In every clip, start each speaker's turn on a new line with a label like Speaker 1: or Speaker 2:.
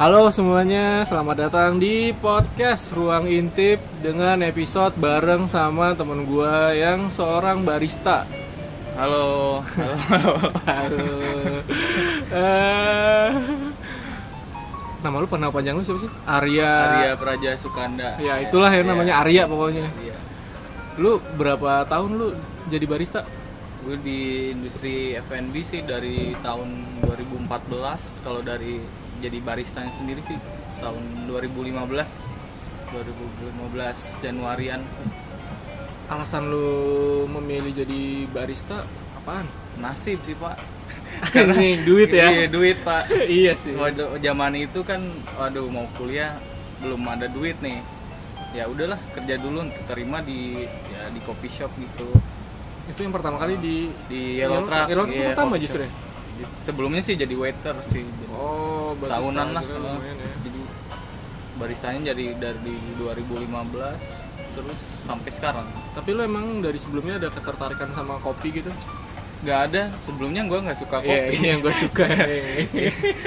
Speaker 1: Halo semuanya, selamat datang di podcast Ruang Intip dengan episode bareng sama temen gua yang seorang barista.
Speaker 2: Halo, halo, halo.
Speaker 1: Halo. Eh, nama lu pernah panjang lu siapa sih? Arya.
Speaker 2: Arya Praja Sukanda.
Speaker 1: Ya itulah yang
Speaker 2: Iya,
Speaker 1: namanya Arya pokoknya.
Speaker 2: Iya.
Speaker 1: Lu berapa tahun lu jadi barista?
Speaker 2: Gue di industri F&B sih dari tahun 2014 kalau dari jadi barista sendiri sih tahun 2015. 2015 Januarian.
Speaker 1: Alasan lu memilih jadi barista apaan?
Speaker 2: Nasib sih, Pak.
Speaker 1: Ini duit
Speaker 2: Iya,
Speaker 1: ya.
Speaker 2: duit, Pak.
Speaker 1: iya sih.
Speaker 2: Waduh, zaman itu kan waduh mau kuliah belum ada duit nih. Ya udahlah kerja dulu terima di ya di coffee shop gitu.
Speaker 1: Itu yang pertama kali di
Speaker 2: di Yellow Truck.
Speaker 1: Yellow Truck
Speaker 2: iya,
Speaker 1: pertama
Speaker 2: coffee
Speaker 1: justru. ya?
Speaker 2: shop. Sebelumnya sih jadi waiter sih.
Speaker 1: Oh, barista
Speaker 2: tahunan lah.
Speaker 1: akhirnya lumayan ya.
Speaker 2: Jadi baristanya jadi dari 2015 terus sampai sekarang.
Speaker 1: Tapi lu emang dari sebelumnya ada ketertarikan sama kopi gitu?
Speaker 2: Gak ada sebelumnya gua nggak suka
Speaker 1: Iya, ini
Speaker 2: kopi.
Speaker 1: yang gue suka. Iya,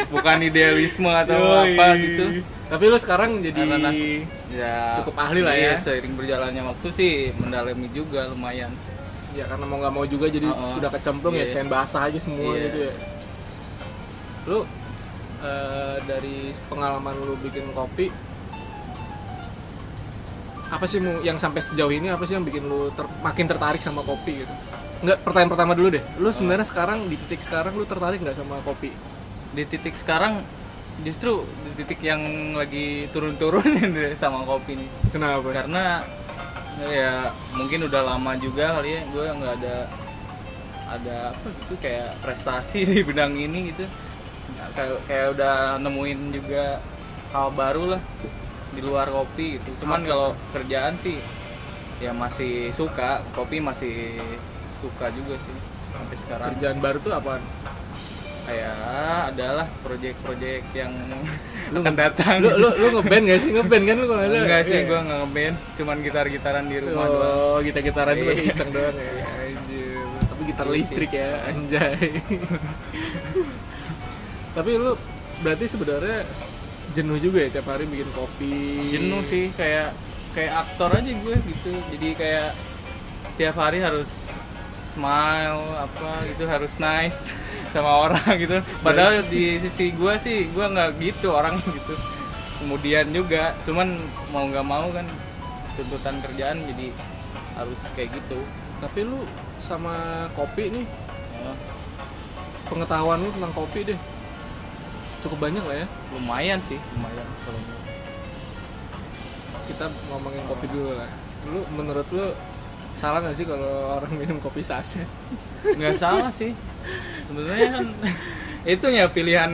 Speaker 2: Bukan idealisme atau
Speaker 1: Yoi.
Speaker 2: apa gitu.
Speaker 1: Tapi lu sekarang jadi
Speaker 2: Ananas- ya,
Speaker 1: cukup ahli lah ya.
Speaker 2: iya, Seiring berjalannya waktu sih mendalami juga lumayan.
Speaker 1: ya karena mau nggak mau juga jadi
Speaker 2: Oh, oh.
Speaker 1: udah kecemplung ya
Speaker 2: Iya.
Speaker 1: sekalian basah aja semua
Speaker 2: Iya.
Speaker 1: gitu ya. Lu eh, dari pengalaman lu bikin kopi apa sih mu- yang sampai sejauh ini apa sih yang bikin lu ter- makin tertarik sama kopi gitu? Enggak, pertanyaan pertama dulu deh. Lu sebenarnya sekarang di titik sekarang lu tertarik nggak sama kopi?
Speaker 2: Di titik sekarang justru di titik yang lagi turun-turun sama kopi nih.
Speaker 1: Kenapa?
Speaker 2: karena ya mungkin udah lama juga kali ya gue nggak ada ada apa gitu kayak prestasi di bidang ini gitu Nah, kayak kayak udah nemuin juga hal baru lah di luar kopi gitu cuman kalau kerjaan sih ya masih suka kopi masih suka juga sih sampai sekarang
Speaker 1: kerjaan baru tuh apaan?
Speaker 2: kayak adalah proyek-proyek yang akan datang
Speaker 1: lu lu lu ngeband gak sih? Ngeband kan lu kalau nggak salah?
Speaker 2: enggak sih
Speaker 1: Iya.
Speaker 2: gue nggak ngeband cuman gitar-gitaran di rumah doang
Speaker 1: Oh, gitar-gitaran itu pakai
Speaker 2: Iya.
Speaker 1: iseng doang ya. Anjir. Tapi gitar listrik ya, anjay. Tapi lu berarti sebenarnya jenuh juga ya tiap hari bikin kopi.
Speaker 2: jenuh sih kayak kayak aktor aja gue gitu jadi kayak tiap hari harus smile apa gitu harus nice sama orang gitu padahal di sisi gue sih gue nggak gitu orang gitu kemudian juga cuman mau nggak mau kan tuntutan kerjaan jadi harus kayak gitu
Speaker 1: Tapi lu sama kopi nih,
Speaker 2: Ya,
Speaker 1: pengetahuan lu tentang kopi deh. Cukup banyak lah ya.
Speaker 2: lumayan sih lumayan kalau menurut gue.
Speaker 1: Kita ngomongin kopi dulu lah. Lu menurut lu salah nggak sih kalau orang minum kopi saset?
Speaker 2: nggak salah sih sebenarnya kan itu ya pilihan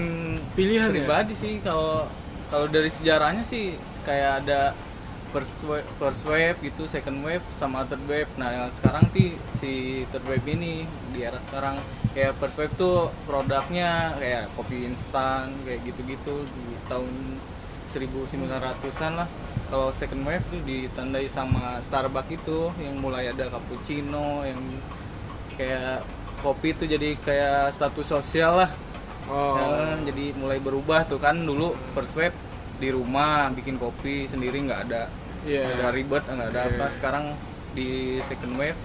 Speaker 1: Pilihan ya?
Speaker 2: Iya, pribadi sih kalau kalau dari sejarahnya sih kayak ada first wave, first wave gitu second wave sama third wave nah yang sekarang ti si third wave ini di era sekarang kayak first wave tuh produknya kayak kopi instan kayak gitu-gitu di tahun 1900-an lah kalau second wave tuh ditandai sama Starbucks itu yang mulai ada cappuccino yang kayak kopi itu jadi kayak status sosial lah
Speaker 1: Oh,
Speaker 2: Ya, jadi mulai berubah tuh kan dulu first wave di rumah bikin kopi sendiri nggak ada
Speaker 1: iya.
Speaker 2: nggak ada ribet nggak ada apa sekarang di second wave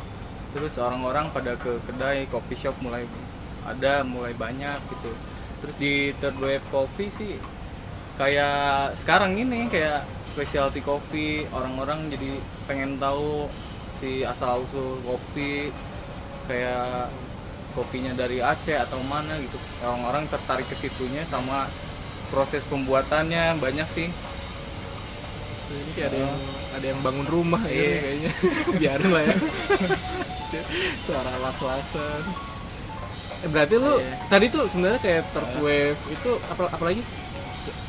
Speaker 2: terus orang-orang pada ke kedai coffee shop mulai ada mulai banyak gitu terus di third wave coffee sih kayak sekarang ini kayak specialty coffee orang-orang jadi pengen tahu si asal usul kopi kayak kopinya dari Aceh atau mana gitu orang-orang tertarik ke situnya sama proses pembuatannya banyak sih
Speaker 1: Ini kayak ada yang ada yang bangun rumah ya
Speaker 2: Iya.
Speaker 1: kayaknya. Biarin lah ya. Suara las-lasan. Eh, berarti lu
Speaker 2: Iya.
Speaker 1: tadi tuh sebenarnya kayak third wave itu apa apalagi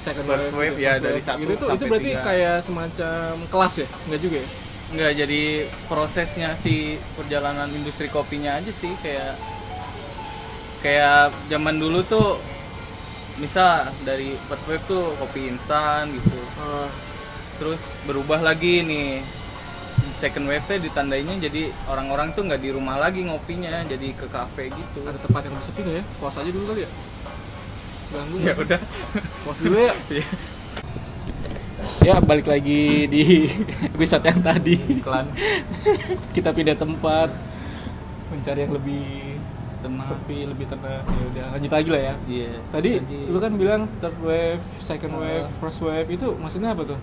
Speaker 1: second
Speaker 2: First wave,
Speaker 1: gitu, Iya.
Speaker 2: ya,
Speaker 1: first
Speaker 2: dari
Speaker 1: wave.
Speaker 2: satu
Speaker 1: Gitu tuh, itu,
Speaker 2: sampai
Speaker 1: berarti
Speaker 2: tiga.
Speaker 1: kayak semacam kelas ya nggak juga ya
Speaker 2: nggak jadi prosesnya si perjalanan industri kopinya aja sih kayak kayak zaman dulu tuh misal dari first wave
Speaker 1: Eh,
Speaker 2: tuh kopi instan gitu terus berubah lagi nih second wave teh ditandainya jadi orang-orang tuh nggak di rumah lagi ngopinya jadi ke kafe gitu
Speaker 3: Ada tempat yang sepi nggak ya? Puas aja dulu kali ya? Ganggu
Speaker 2: ya
Speaker 3: nggak?
Speaker 2: udah
Speaker 3: Puas dulu ya?
Speaker 2: Iya.
Speaker 1: Ya balik lagi di episode yang tadi
Speaker 2: iklan
Speaker 1: kita pindah tempat mencari yang lebih
Speaker 2: teman
Speaker 1: sepi, lebih tenang. Ya udah lanjut lagi lah ya.
Speaker 2: iya
Speaker 1: Iya. Tadi
Speaker 2: Jadi,
Speaker 1: lu kan bilang third wave, second wave,
Speaker 2: Eh.
Speaker 1: first wave itu maksudnya apa tuh?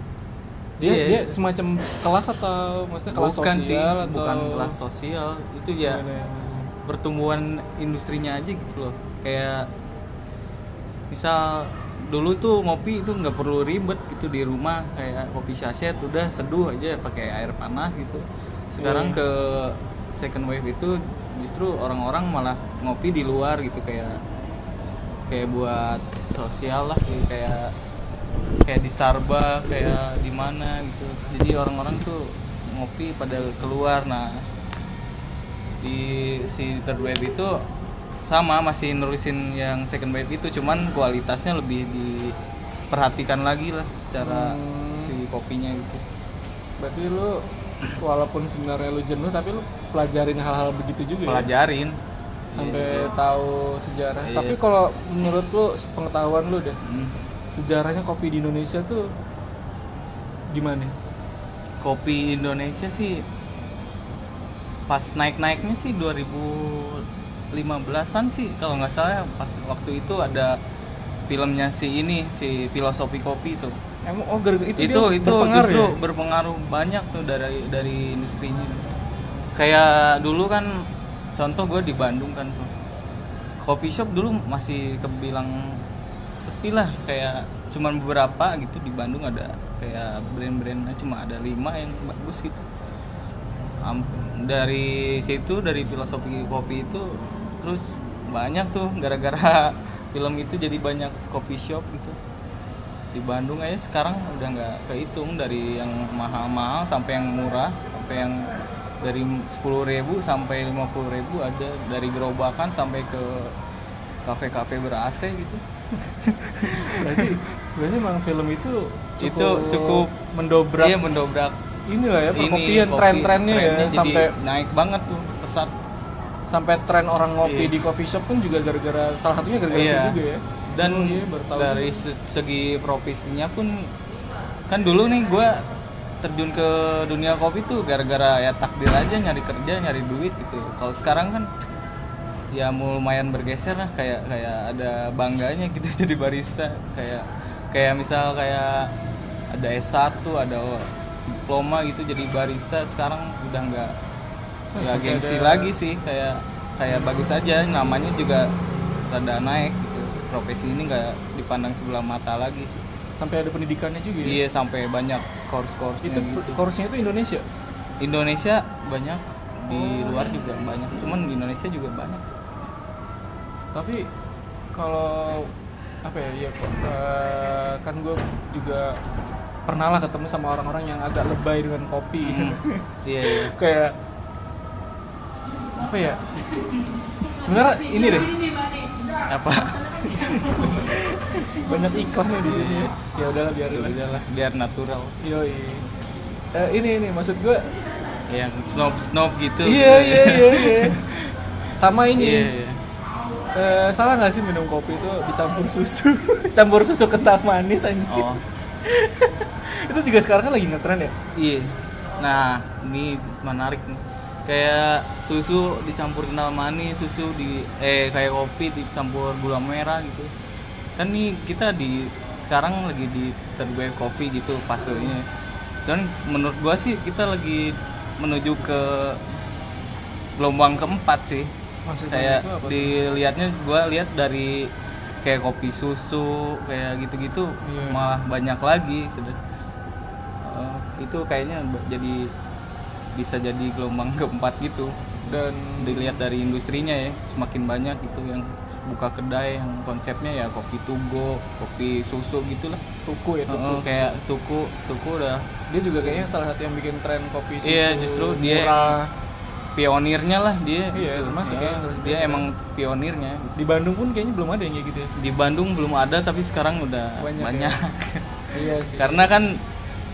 Speaker 1: Dia
Speaker 2: Iya,
Speaker 1: dia
Speaker 2: iya.
Speaker 1: semacam kelas atau maksudnya kelas
Speaker 2: bukan sih
Speaker 1: sosial atau
Speaker 2: bukan kelas sosial itu ya
Speaker 1: Gimana ya?
Speaker 2: pertumbuhan industrinya aja gitu loh kayak misal dulu tuh ngopi itu nggak perlu ribet gitu di rumah kayak kopi saset udah seduh aja pakai air panas gitu sekarang ke second wave itu justru orang-orang malah ngopi di luar gitu kayak kayak buat sosial lah gitu, kayak kayak di Starbucks kayak di mana gitu jadi orang-orang tuh ngopi pada keluar nah di si third wave itu sama masih nulisin yang second wave itu cuman kualitasnya lebih diperhatikan lagi lah secara si kopinya gitu
Speaker 1: Berarti lu walaupun sebenarnya lu jenuh tapi lu pelajarin hal-hal begitu juga. ya?
Speaker 2: pelajarin
Speaker 1: sampai tahu sejarah.
Speaker 2: Iya.
Speaker 1: Tapi kalau menurut lu pengetahuan lu deh,
Speaker 2: Hmm.
Speaker 1: sejarahnya kopi di Indonesia tuh gimana?
Speaker 2: kopi Indonesia sih pas naik-naiknya sih 2015-an sih kalau nggak salah pas waktu itu ada filmnya si ini si filosofi kopi itu
Speaker 1: Emang oh gara itu
Speaker 2: itu
Speaker 1: dia
Speaker 2: itu
Speaker 1: berpengaruh
Speaker 2: justru
Speaker 1: ya?
Speaker 2: berpengaruh banyak tuh dari dari industrinya kayak dulu kan contoh gue di Bandung kan tuh coffee shop dulu masih kebilang sepi lah kayak cuman beberapa gitu di Bandung ada kayak brand-brandnya cuma ada lima yang bagus gitu Am- dari situ dari filosofi kopi itu terus banyak tuh gara-gara film itu jadi banyak coffee shop gitu di Bandung aja sekarang udah nggak kehitung dari yang mahal-mahal sampai yang murah sampai yang dari 10.000 sampai 50.000 ada dari gerobakan sampai ke kafe-kafe ber AC gitu
Speaker 1: Berarti berarti emang film itu cukup,
Speaker 2: Itu cukup
Speaker 1: mendobrak
Speaker 2: iya mendobrak
Speaker 1: inilah ya perkopian
Speaker 2: kopi,
Speaker 1: tren-trennya ya
Speaker 2: trennya jadi
Speaker 1: sampai
Speaker 2: naik banget tuh pesat
Speaker 1: sampai tren orang ngopi
Speaker 2: Iya.
Speaker 1: di coffee shop pun juga gara-gara salah satunya gara-gara
Speaker 2: Iya.
Speaker 1: itu juga ya.
Speaker 2: dan
Speaker 1: Oh, iya, baru tahu.
Speaker 2: dari se- segi profesinya pun kan dulu nih gue terjun ke dunia kopi tuh gara-gara ya takdir aja nyari kerja nyari duit gitu kalau sekarang kan ya mau lumayan bergeser lah kayak kayak ada bangganya gitu jadi barista kayak kayak misal kayak ada S1 ada diploma gitu jadi barista sekarang udah nggak
Speaker 1: Nah,
Speaker 2: nggak gengsi lagi Iya sih kayak kayak bagus aja namanya juga rada naik gitu profesi ini nggak dipandang sebelah mata lagi sih
Speaker 1: sampai ada pendidikannya juga ya.
Speaker 2: iya sampai banyak course-course
Speaker 1: Itu
Speaker 2: gitu
Speaker 1: kursinya itu Indonesia.
Speaker 2: Indonesia banyak di
Speaker 1: Oh.
Speaker 2: luar juga banyak cuman di Indonesia juga banyak sih
Speaker 1: tapi kalau apa ya iya kok, eh, kan gue juga pernah lah ketemu sama orang-orang yang agak lebay dengan kopi
Speaker 2: Hmm. iya iya
Speaker 1: kayak apa ya sebenarnya ini deh
Speaker 2: apa
Speaker 1: banyak iklannya di sini ya udahlah biar aja lah
Speaker 2: biar natural
Speaker 1: yoi Eh, ini ini maksud gue
Speaker 2: yang snob snob gitu
Speaker 1: iya iya iya iya sama ini
Speaker 2: Iya, iya.
Speaker 1: Eh, salah nggak sih minum kopi itu dicampur susu campur susu kental manis anjir
Speaker 2: oh
Speaker 1: itu juga sekarang kan lagi ngetren ya
Speaker 2: iya nah ini menarik nih kayak susu dicampur kental manis susu di eh kayak kopi dicampur gula merah gitu kan nih kita di sekarang lagi di third wave kopi gitu fasenya cuman menurut gua sih kita lagi menuju ke gelombang keempat sih
Speaker 1: maksudnya
Speaker 2: kayak dilihatnya gua lihat dari kayak kopi susu kayak gitu-gitu
Speaker 1: Iya.
Speaker 2: malah banyak lagi sudah Eh, itu kayaknya ba- jadi bisa jadi gelombang keempat gitu
Speaker 1: dan
Speaker 2: dilihat dari industrinya ya semakin banyak gitu yang buka kedai yang konsepnya ya kopi tugo kopi susu gitulah
Speaker 1: tuku ya tuku.
Speaker 2: Eh, kayak tuku tuku udah
Speaker 1: dia juga kayaknya salah satu yang bikin tren kopi susu
Speaker 2: Iya, justru dia-
Speaker 1: murah.
Speaker 2: pionirnya lah dia
Speaker 1: Iya, termasuk
Speaker 2: Eh,
Speaker 1: ya, terus
Speaker 2: dia emang pionirnya
Speaker 1: di Bandung pun kayaknya belum ada yang kayak gitu ya
Speaker 2: di Bandung belum ada tapi sekarang udah
Speaker 1: Banyak
Speaker 2: banyak,
Speaker 1: ya. iya sih
Speaker 2: karena kan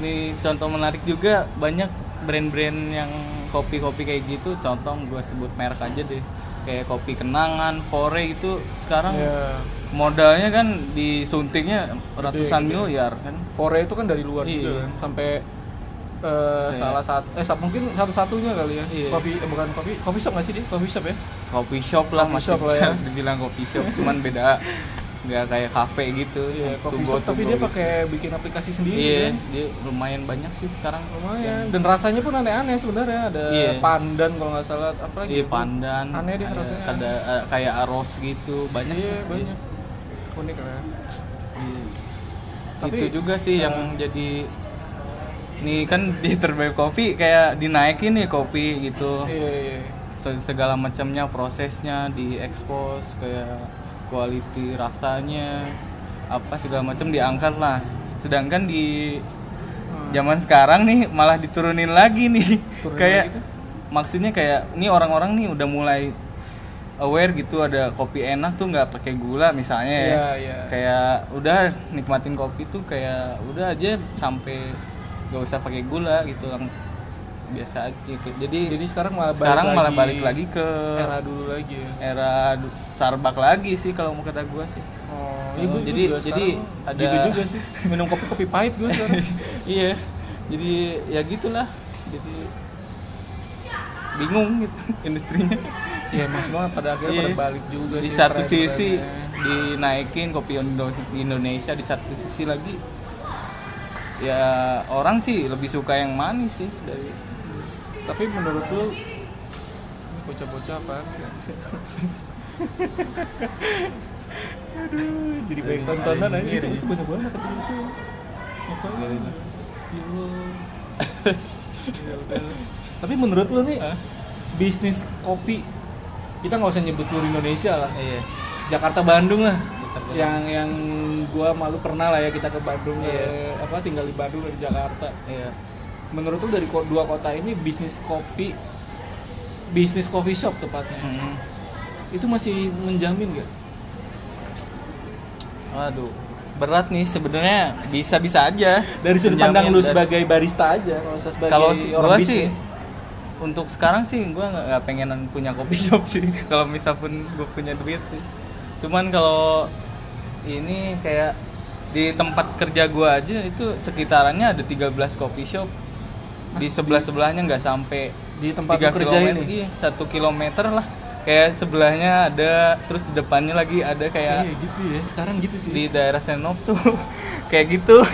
Speaker 2: nih contoh menarik juga banyak brand-brand yang kopi-kopi kayak gitu contoh gua sebut merek aja deh kayak kopi kenangan fore itu sekarang
Speaker 1: Ya.
Speaker 2: modalnya kan disuntiknya
Speaker 1: Iya,
Speaker 2: ratusan miliar kan
Speaker 1: Fore itu kan dari luar
Speaker 2: Iya.
Speaker 1: juga kan sampai eh, salah satu eh sa- mungkin satu-satunya kali ya.
Speaker 2: Iya.
Speaker 1: Coffee eh, bukan coffee, coffee shop nggak sih dia? Coffee shop ya?
Speaker 2: kopi shop lah
Speaker 1: Coffee
Speaker 2: masih
Speaker 1: shop lah
Speaker 2: bisa
Speaker 1: ya.
Speaker 2: dibilang kopi shop cuman beda nggak kayak kafe gitu
Speaker 1: Iya, coffee
Speaker 2: tubo-
Speaker 1: shop tapi
Speaker 2: tubo
Speaker 1: dia
Speaker 2: gitu.
Speaker 1: pakai bikin aplikasi sendiri
Speaker 2: iya
Speaker 1: kan.
Speaker 2: dia lumayan banyak sih sekarang
Speaker 1: Lumayan. Dan rasanya pun aneh-aneh sebenarnya. Ada
Speaker 2: Iya.
Speaker 1: pandan kalau nggak salah apa lagi?
Speaker 2: Iya pandan,
Speaker 1: Aneh deh
Speaker 2: ada-
Speaker 1: rasanya.
Speaker 2: ada eh, kayak aros gitu banyak
Speaker 1: Iya,
Speaker 2: sih.
Speaker 1: banyak. Unik kan? lah.
Speaker 2: Iya.
Speaker 1: Tapi,
Speaker 2: itu juga sih
Speaker 1: eh,
Speaker 2: yang jadi nih kan di terbaik kopi kayak dinaikin nih kopi gitu
Speaker 1: Iya, iya.
Speaker 2: Se- segala macamnya prosesnya diekspos kayak quality rasanya apa segala macam diangkat lah sedangkan di zaman sekarang nih malah diturunin lagi nih
Speaker 1: Hmm. Turunin
Speaker 2: kayak
Speaker 1: lagi tuh?
Speaker 2: maksudnya kayak nih orang-orang nih udah mulai aware gitu ada kopi enak tuh nggak pakai gula misalnya ya
Speaker 1: Iya, iya.
Speaker 2: kayak udah nikmatin kopi tuh kayak udah aja sampai nggak usah pakai gula gitu lang biasa aja jadi
Speaker 1: Jadi sekarang malah balik
Speaker 2: sekarang malah
Speaker 1: lagi
Speaker 2: balik lagi ke
Speaker 1: era dulu lagi ya.
Speaker 2: era du- Starbucks lagi sih kalau mau kata gua sih
Speaker 1: Oh,
Speaker 2: iya, gua- jadi-
Speaker 1: juga
Speaker 2: jadi
Speaker 1: sekarang
Speaker 2: ada-
Speaker 1: gitu juga sih. Minum kopi kopi pahit gue sekarang.
Speaker 2: iya jadi ya gitulah jadi bingung gitu industrinya
Speaker 1: Iya, emang semua pada akhirnya
Speaker 2: Iya.
Speaker 1: pada balik juga
Speaker 2: di
Speaker 1: sih, ya.
Speaker 2: satu
Speaker 1: tren-trennya.
Speaker 2: sisi dinaikin kopi Indo- Indonesia di satu sisi lagi ya orang sih lebih suka yang manis sih dari
Speaker 1: Tapi menurut lu ini bocah-bocah apa? Aduh, jadi
Speaker 2: Dari
Speaker 1: baik tontonan aja
Speaker 2: hari ini
Speaker 1: itu
Speaker 2: nih.
Speaker 1: itu banyak banget kecil-kecil. Makanya.
Speaker 2: Dari lah.
Speaker 1: Ya Allah. Ya udah. Tapi menurut lu nih bisnis kopi kita nggak usah nyebut seluruh Indonesia lah.
Speaker 2: iya
Speaker 1: Jakarta Bandung lah
Speaker 2: Jakarta.
Speaker 1: yang yang gua malu pernah lah ya kita ke Bandung ke-
Speaker 2: Iya.
Speaker 1: apa tinggal di Bandung dari Jakarta
Speaker 2: iya
Speaker 1: menurut lu dari ko- dua kota ini bisnis kopi bisnis coffee shop tepatnya
Speaker 2: Mm.
Speaker 1: itu masih menjamin gak?
Speaker 2: Aduh, berat nih sebenarnya bisa-bisa aja.
Speaker 1: dari sudut
Speaker 2: Menjamin
Speaker 1: pandang lu
Speaker 2: dari-
Speaker 1: sebagai barista aja kalau usah sebagai
Speaker 2: kalau si-
Speaker 1: orang
Speaker 2: gua sih
Speaker 1: bisnis
Speaker 2: untuk sekarang sih gua nggak nggak pengenan punya kopi shop sih. kalau misal pun gue punya duit sih. Cuman kalau ini kayak di tempat kerja gua aja itu sekitarannya ada 13 kopi shop. Di sebelah-sebelahnya nggak
Speaker 1: Ah,
Speaker 2: sampai
Speaker 1: di tempat lu
Speaker 2: tiga
Speaker 1: kerja
Speaker 2: kilometer,
Speaker 1: ini
Speaker 2: iya, satu kilometer lah. Kayak sebelahnya ada, terus di depannya lagi ada kayak
Speaker 1: iya gitu ya sekarang gitu sih
Speaker 2: di daerah Senop tuh kayak gitu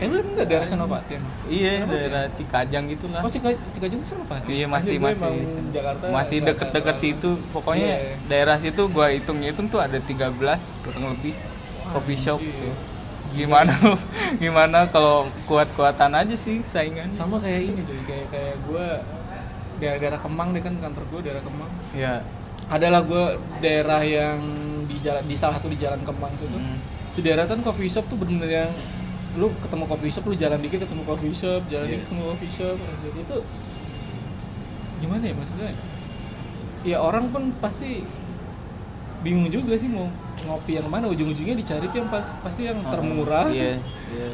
Speaker 1: eh lu nggak daerah Senopati emang?
Speaker 2: iya daerah Cikajang gitulah
Speaker 1: oh Cika Cikajang itu Senopati
Speaker 2: iya masih
Speaker 1: Anjir, gua
Speaker 2: masih
Speaker 1: emang Jakarta
Speaker 2: masih
Speaker 1: nggak
Speaker 2: deket-deket
Speaker 1: tahu.
Speaker 2: situ pokoknya
Speaker 1: Iya.
Speaker 2: daerah situ gua hitung-hitung tuh ada 13 kurang lebih kopi shop
Speaker 1: Anjir.
Speaker 2: tuh. gimana lu- gimana kalau kuat-kuatan aja sih saingan
Speaker 1: sama kayak ini cuy kayak kayak gue daerah-daerah Kemang deh kan kantor gue daerah Kemang
Speaker 2: ya
Speaker 1: adalah gue daerah yang di jalan di salah satu di jalan Kemang situ
Speaker 2: Hmm.
Speaker 1: sederetan coffee shop tuh bener-bener yang lu ketemu coffee shop lu jalan dikit ketemu coffee shop jalan
Speaker 2: Iya.
Speaker 1: dikit ketemu coffee shop anjir. itu gimana ya maksudnya ya orang pun pasti bingung juga sih mau ngopi yang mana ujung-ujungnya dicari tuh yang pas- pasti yang termurah
Speaker 2: iya iya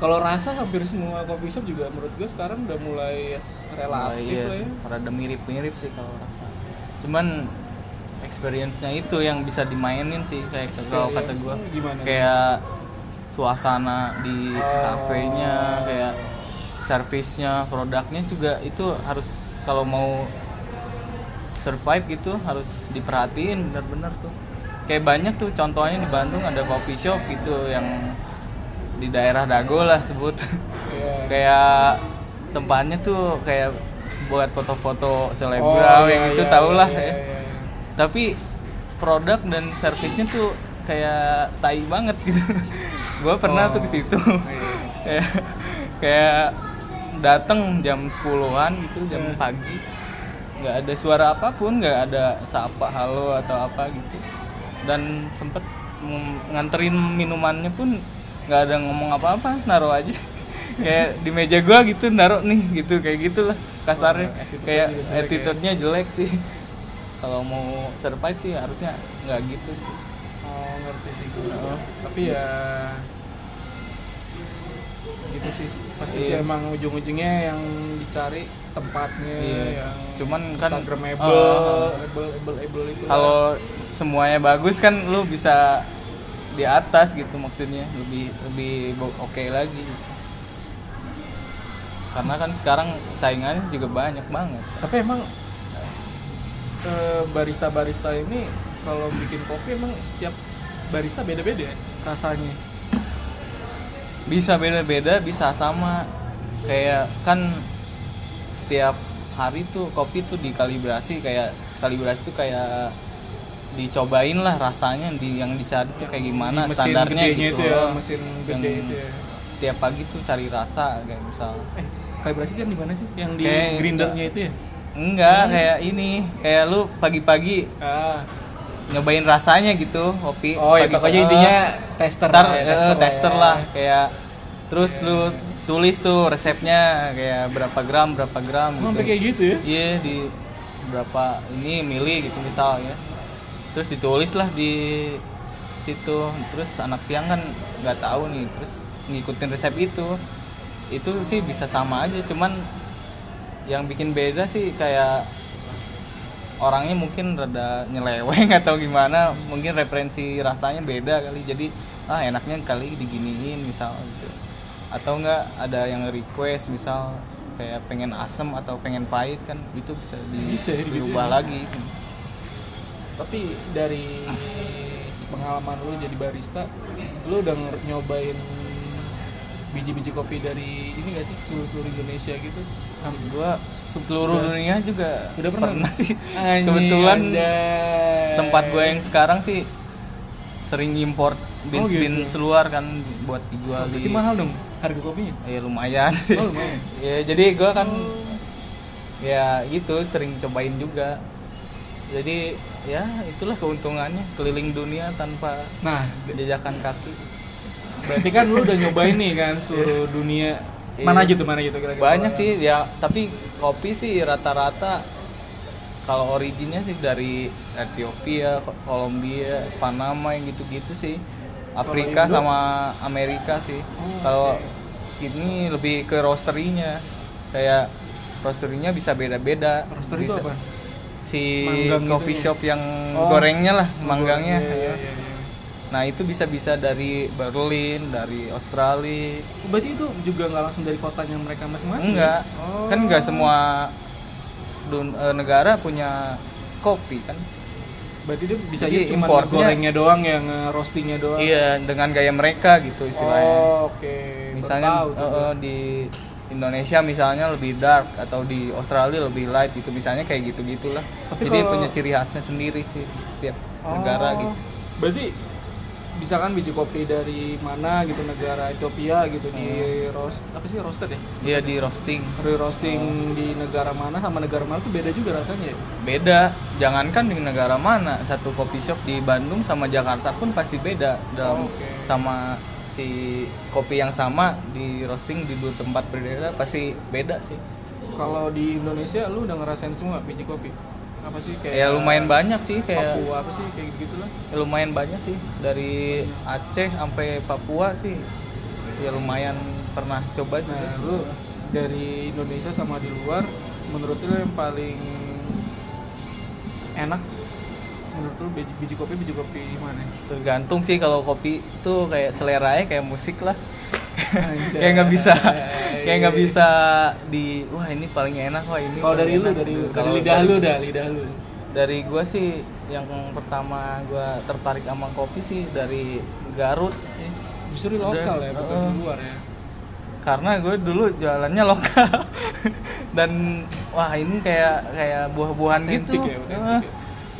Speaker 1: kalau rasa hampir semua coffee shop juga menurut gue sekarang udah mulai ya, relatif
Speaker 2: Iya,
Speaker 1: lah ya
Speaker 2: rada mirip-mirip sih kalau rasa cuman experience-nya itu yang bisa dimainin sih kayak kalau kata
Speaker 1: Experience-nya
Speaker 2: gua
Speaker 1: gimana?
Speaker 2: kayak suasana di
Speaker 1: Oh.
Speaker 2: kafenya kayak servisnya produknya juga itu harus kalau mau survive gitu harus diperhatiin bener-bener tuh kayak banyak tuh contohnya di Bandung ada coffee shop gitu yang di daerah Dago lah sebut
Speaker 1: Iya.
Speaker 2: kayak tempatnya tuh kayak buat
Speaker 1: Oh,
Speaker 2: foto-foto selebgram
Speaker 1: iya,
Speaker 2: yang itu
Speaker 1: iya,
Speaker 2: tau
Speaker 1: iya,
Speaker 2: lah
Speaker 1: iya,
Speaker 2: ya.
Speaker 1: iya, iya.
Speaker 2: Tapi produk dan servisnya tuh kayak tai banget gitu. gua pernah tuh ke situ. kayak kayak datang jam 10-an gitu,
Speaker 1: Iya.
Speaker 2: jam pagi. nggak ada suara apapun, nggak ada sapa halo atau apa gitu. Dan sempet mm, nganterin minumannya pun nggak ada ngomong apa-apa, naruh aja. kayak di meja gua gitu naruh nih gitu kayak gitulah kasarnya kayak attitude-nya jelek sih kalau mau survive sih harusnya nggak gitu Oh.
Speaker 1: Oh, ngerti sih gue. Tapi ya gitu sih pasti
Speaker 2: Iya.
Speaker 1: sih emang ujung-ujungnya yang dicari tempatnya
Speaker 2: Iya.
Speaker 1: yang
Speaker 2: Cuman kan,
Speaker 1: instagramable
Speaker 2: eh,
Speaker 1: able- able- able itu
Speaker 2: kalau semuanya bagus kan lu bisa di atas gitu maksudnya lebih lebih bo- oke lagi karena kan sekarang saingannya juga banyak banget
Speaker 1: tapi emang eh, barista-barista ini kalau bikin kopi emang setiap barista beda-beda ya rasanya
Speaker 2: bisa beda-beda bisa sama kayak kan setiap hari tuh kopi tuh dikalibrasi kayak kalibrasi tuh kayak dicobain lah rasanya di yang dicari tuh kayak gimana
Speaker 1: Di mesin
Speaker 2: standarnya
Speaker 1: gedenya
Speaker 2: gitu
Speaker 1: itu ya,
Speaker 2: loh.
Speaker 1: mesin gede
Speaker 2: Yang
Speaker 1: itu ya.
Speaker 2: tiap pagi tuh cari rasa kayak misal
Speaker 1: eh kalibrasi itu yang di mana sih yang di
Speaker 2: Kayak-
Speaker 1: grindernya itu ya
Speaker 2: Enggak, kayak ini, kayak lu pagi-pagi
Speaker 1: ah
Speaker 2: nyobain rasanya gitu, kopi.
Speaker 1: oh ya
Speaker 2: Pagi-
Speaker 1: pokoknya
Speaker 2: eh,
Speaker 1: intinya tester
Speaker 2: ntar,
Speaker 1: lah ya,
Speaker 2: eh,
Speaker 1: tester
Speaker 2: tester,
Speaker 1: lah ya.
Speaker 2: lah, kayak terus lu tulis tuh resepnya kayak berapa gram, berapa gram
Speaker 1: Emang sampai
Speaker 2: gitu.
Speaker 1: kayak gitu ya
Speaker 2: Iya, di berapa ini mili gitu misalnya. Terus ditulis lah di situ. Terus anak siang kan nggak tahu nih, terus ngikutin resep itu. Itu sih bisa sama aja, cuman yang bikin beda sih kayak orangnya mungkin rada nyeleweng atau gimana, mungkin referensi rasanya beda kali. Jadi ah enaknya kali diginiin misal gitu. Atau enggak ada yang request misal kayak pengen asem atau pengen pahit kan itu bisa, di-
Speaker 1: Bisa ya, gitu ya.
Speaker 2: diubah lagi.
Speaker 1: tapi dari pengalaman lu jadi barista lu udah nger- nyobain biji-biji kopi dari ini gak sih seluruh, seluruh Indonesia gitu
Speaker 2: Kan gua seluruh dunia juga
Speaker 1: Udah pernah?
Speaker 2: sih.
Speaker 1: Anjing,
Speaker 2: Kebetulan
Speaker 1: anjay.
Speaker 2: tempat gue yang sekarang sih sering import beans beans luar kan buat
Speaker 1: Oh,
Speaker 2: dijual di
Speaker 1: gitu. berarti mahal dong harga kopinya
Speaker 2: ya lumayan sih.
Speaker 1: Oh, lumayan.
Speaker 2: ya jadi gue kan ya gitu sering cobain juga jadi ya itulah keuntungannya keliling dunia tanpa
Speaker 1: nah
Speaker 2: jajakan kaki
Speaker 1: berarti kan lu udah nyobain nih kan seluruh dunia mana aja tuh mana gitu kira-kira
Speaker 2: banyak sih ya tapi kopi sih rata-rata kalau originnya sih dari Ethiopia, Ko- Kolombia, Panama yang gitu-gitu sih. Afrika
Speaker 1: Indo?
Speaker 2: sama Amerika sih.
Speaker 1: Oh,
Speaker 2: kalau ini lebih ke roasterinya. Kayak roasterinya bisa beda-beda.
Speaker 1: roster itu
Speaker 2: bisa.
Speaker 1: apa
Speaker 2: Si
Speaker 1: Manggang
Speaker 2: coffee
Speaker 1: gitu ya?
Speaker 2: shop yang
Speaker 1: Oh.
Speaker 2: gorengnya lah, manggangnya.
Speaker 1: Iya, iya,
Speaker 2: ya.
Speaker 1: iya, iya.
Speaker 2: Nah, itu bisa-bisa dari Berlin, dari Australia,
Speaker 1: berarti itu juga nggak langsung dari kotanya mereka masing-masing
Speaker 2: enggak
Speaker 1: ya? oh.
Speaker 2: kan enggak semua dun- eh, negara punya kopi kan
Speaker 1: berarti dia bisa aja
Speaker 2: Jadi
Speaker 1: cuma
Speaker 2: importnya-
Speaker 1: gorengnya doang yang roastingnya doang
Speaker 2: iya dengan gaya mereka gitu eh, istilahnya
Speaker 1: Oh, oke. Baru
Speaker 2: misalnya
Speaker 1: tahu tuh
Speaker 2: eh,
Speaker 1: gua.
Speaker 2: eh, di Indonesia misalnya lebih dark atau di Australia lebih light gitu misalnya kayak gitu gitulah
Speaker 1: Tapi
Speaker 2: jadi
Speaker 1: kalau-
Speaker 2: punya ciri khasnya sendiri sih setiap
Speaker 1: Oh,
Speaker 2: negara gitu
Speaker 1: Berarti misalkan biji kopi dari mana gitu negara Ethiopia gitu di roast apa sih roasted ya?
Speaker 2: iya di roasting
Speaker 1: Re roasting
Speaker 2: Oh.
Speaker 1: di negara mana sama negara mana tuh beda juga rasanya ya?
Speaker 2: beda jangankan di negara mana satu kopi shop di Bandung sama Jakarta pun pasti beda dalam
Speaker 1: Oh, Oke.
Speaker 2: sama si kopi yang sama di roasting di dua tempat berbeda pasti beda sih
Speaker 1: Kalau di Indonesia lu udah ngerasain semua biji kopi. Apa sih kayak
Speaker 2: ya lumayan banyak sih kayak
Speaker 1: Papua apa sih kayak gitu lah.
Speaker 2: lumayan banyak sih dari Aceh sampai Papua sih ya lumayan pernah coba juga
Speaker 1: Nah,
Speaker 2: sih.
Speaker 1: lu dari Indonesia sama di luar menurut lu yang paling enak menurut lu biji, biji kopi biji kopi mana?
Speaker 2: tergantung sih kalau kopi tuh kayak seleranya kayak musik lah
Speaker 1: Anjay.
Speaker 2: kayak nggak bisa
Speaker 1: Iya,
Speaker 2: kayak nggak bisa di wah ini paling enak wah ini
Speaker 1: Kalau
Speaker 2: paling
Speaker 1: dari lu
Speaker 2: enak
Speaker 1: dari
Speaker 2: gitu.
Speaker 1: lu, dari
Speaker 2: Kalau
Speaker 1: lidah
Speaker 2: dari-
Speaker 1: lu dah, lidah lu.
Speaker 2: dari gua sih yang pertama gua tertarik sama kopi sih dari Garut sih
Speaker 1: Justru di lokal
Speaker 2: Udah,
Speaker 1: ya, bukan
Speaker 2: uh-uh.
Speaker 1: di luar ya.
Speaker 2: karena gue dulu jualannya lokal dan wah ini kayak kayak buah-buahan
Speaker 1: Otentik
Speaker 2: gitu
Speaker 1: ya, otentik ya.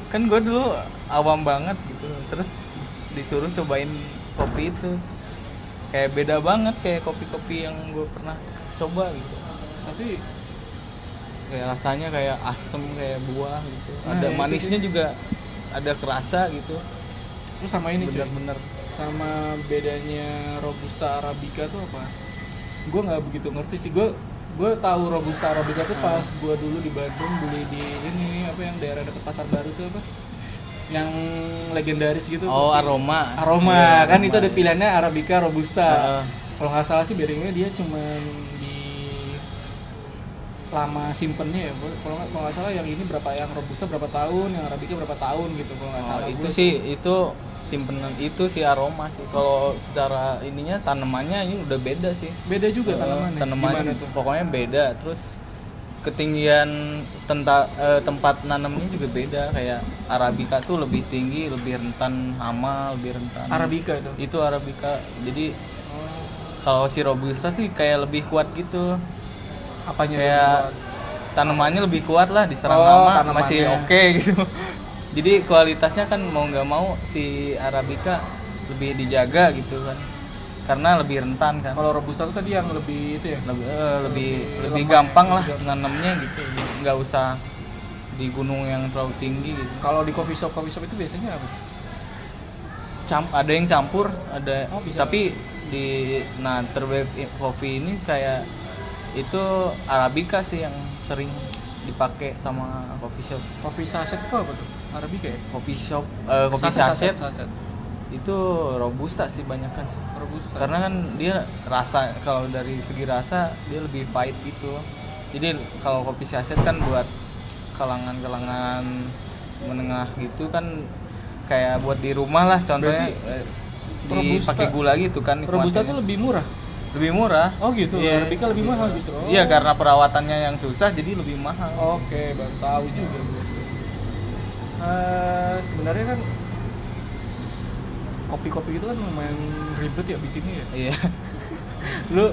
Speaker 2: kan gue dulu awam banget gitu terus disuruh cobain kopi itu kayak beda banget kayak kopi-kopi yang gue pernah coba gitu
Speaker 1: Tapi
Speaker 2: kayak rasanya kayak asem kayak buah gitu
Speaker 1: Nah,
Speaker 2: ada
Speaker 1: itu
Speaker 2: manisnya juga ada kerasa gitu
Speaker 1: lu sama ini cuy.
Speaker 2: bener-bener
Speaker 1: Sama bedanya robusta arabica tuh apa? Gue nggak begitu ngerti sih. Gue gue tahu robusta arabica tuh pas
Speaker 2: Hmm.
Speaker 1: gue dulu di Bandung beli di ini apa yang daerah dekat pasar baru tuh apa? Yang legendaris gitu. kopi.
Speaker 2: oh aroma
Speaker 1: Aroma
Speaker 2: Iya,
Speaker 1: kan itu
Speaker 2: aroma.
Speaker 1: ada pilihannya arabica robusta.
Speaker 2: Heeh.
Speaker 1: kalau nggak salah sih bearingnya dia cuman di lama simpennya ya Bu. kalau nggak kalau nggak salah yang ini berapa yang robusta berapa tahun yang arabica berapa tahun gitu kalau nggak
Speaker 2: Oh,
Speaker 1: salah
Speaker 2: itu
Speaker 1: Gua-
Speaker 2: sih itu simpenan itu sih aroma sih. Kalau secara ininya tanamannya ini udah beda sih.
Speaker 1: beda juga
Speaker 2: Eh,
Speaker 1: tanamannya
Speaker 2: tanaman
Speaker 1: gimana tuh
Speaker 2: pokoknya beda. Terus ketinggian tenta, eh, tempat nanamnya juga beda kayak arabica tuh lebih tinggi, lebih rentan hama, lebih rentan.
Speaker 1: arabica itu Oh,
Speaker 2: Itu arabica. Jadi kalau si robusta tuh kayak lebih kuat gitu.
Speaker 1: apanya
Speaker 2: kayak tanamannya lebih kuat lah diserang
Speaker 1: Oh,
Speaker 2: hama
Speaker 1: tanamannya.
Speaker 2: masih oke gitu jadi kualitasnya kan mau nggak mau si arabica lebih dijaga gitu kan karena lebih rentan kan
Speaker 1: kalau robusta itu tadi yang lebih itu ya
Speaker 2: lebih eh, lebih
Speaker 1: Lebih
Speaker 2: lebih
Speaker 1: lemah
Speaker 2: gampang
Speaker 1: ya,
Speaker 2: lah nanamnya gitu nggak usah di gunung yang terlalu tinggi gitu
Speaker 1: kalau di coffee shop coffee shop itu biasanya apa
Speaker 2: Camp, ada yang campur ada
Speaker 1: Oh, bisa.
Speaker 2: tapi di nah terbaik kopi ini kayak itu arabica sih yang sering dipakai sama coffee shop
Speaker 1: kopi saset itu apa tuh arabica ya
Speaker 2: kopi shop eh, kopi saset,
Speaker 1: saset
Speaker 2: itu robusta sih banyak kan sih.
Speaker 1: robusta
Speaker 2: karena kan dia rasa kalau dari segi rasa dia lebih pahit gitu jadi kalau kopi saset kan buat kalangan-kalangan menengah gitu kan kayak buat di rumah lah contohnya eh,
Speaker 1: Robusta-
Speaker 2: dipakai gula gitu kan
Speaker 1: robusta tuh
Speaker 2: nikmatinnya.
Speaker 1: lebih murah
Speaker 2: lebih murah
Speaker 1: oh gitu
Speaker 2: Iya.
Speaker 1: arabica lebih mahal justru Oh.
Speaker 2: iya karena perawatannya yang susah jadi lebih mahal
Speaker 1: Oke, baru tahu juga gue. Eh, sebenarnya kan kopi-kopi itu kan lumayan ribet ya bikinnya ya.
Speaker 2: iya
Speaker 1: Lu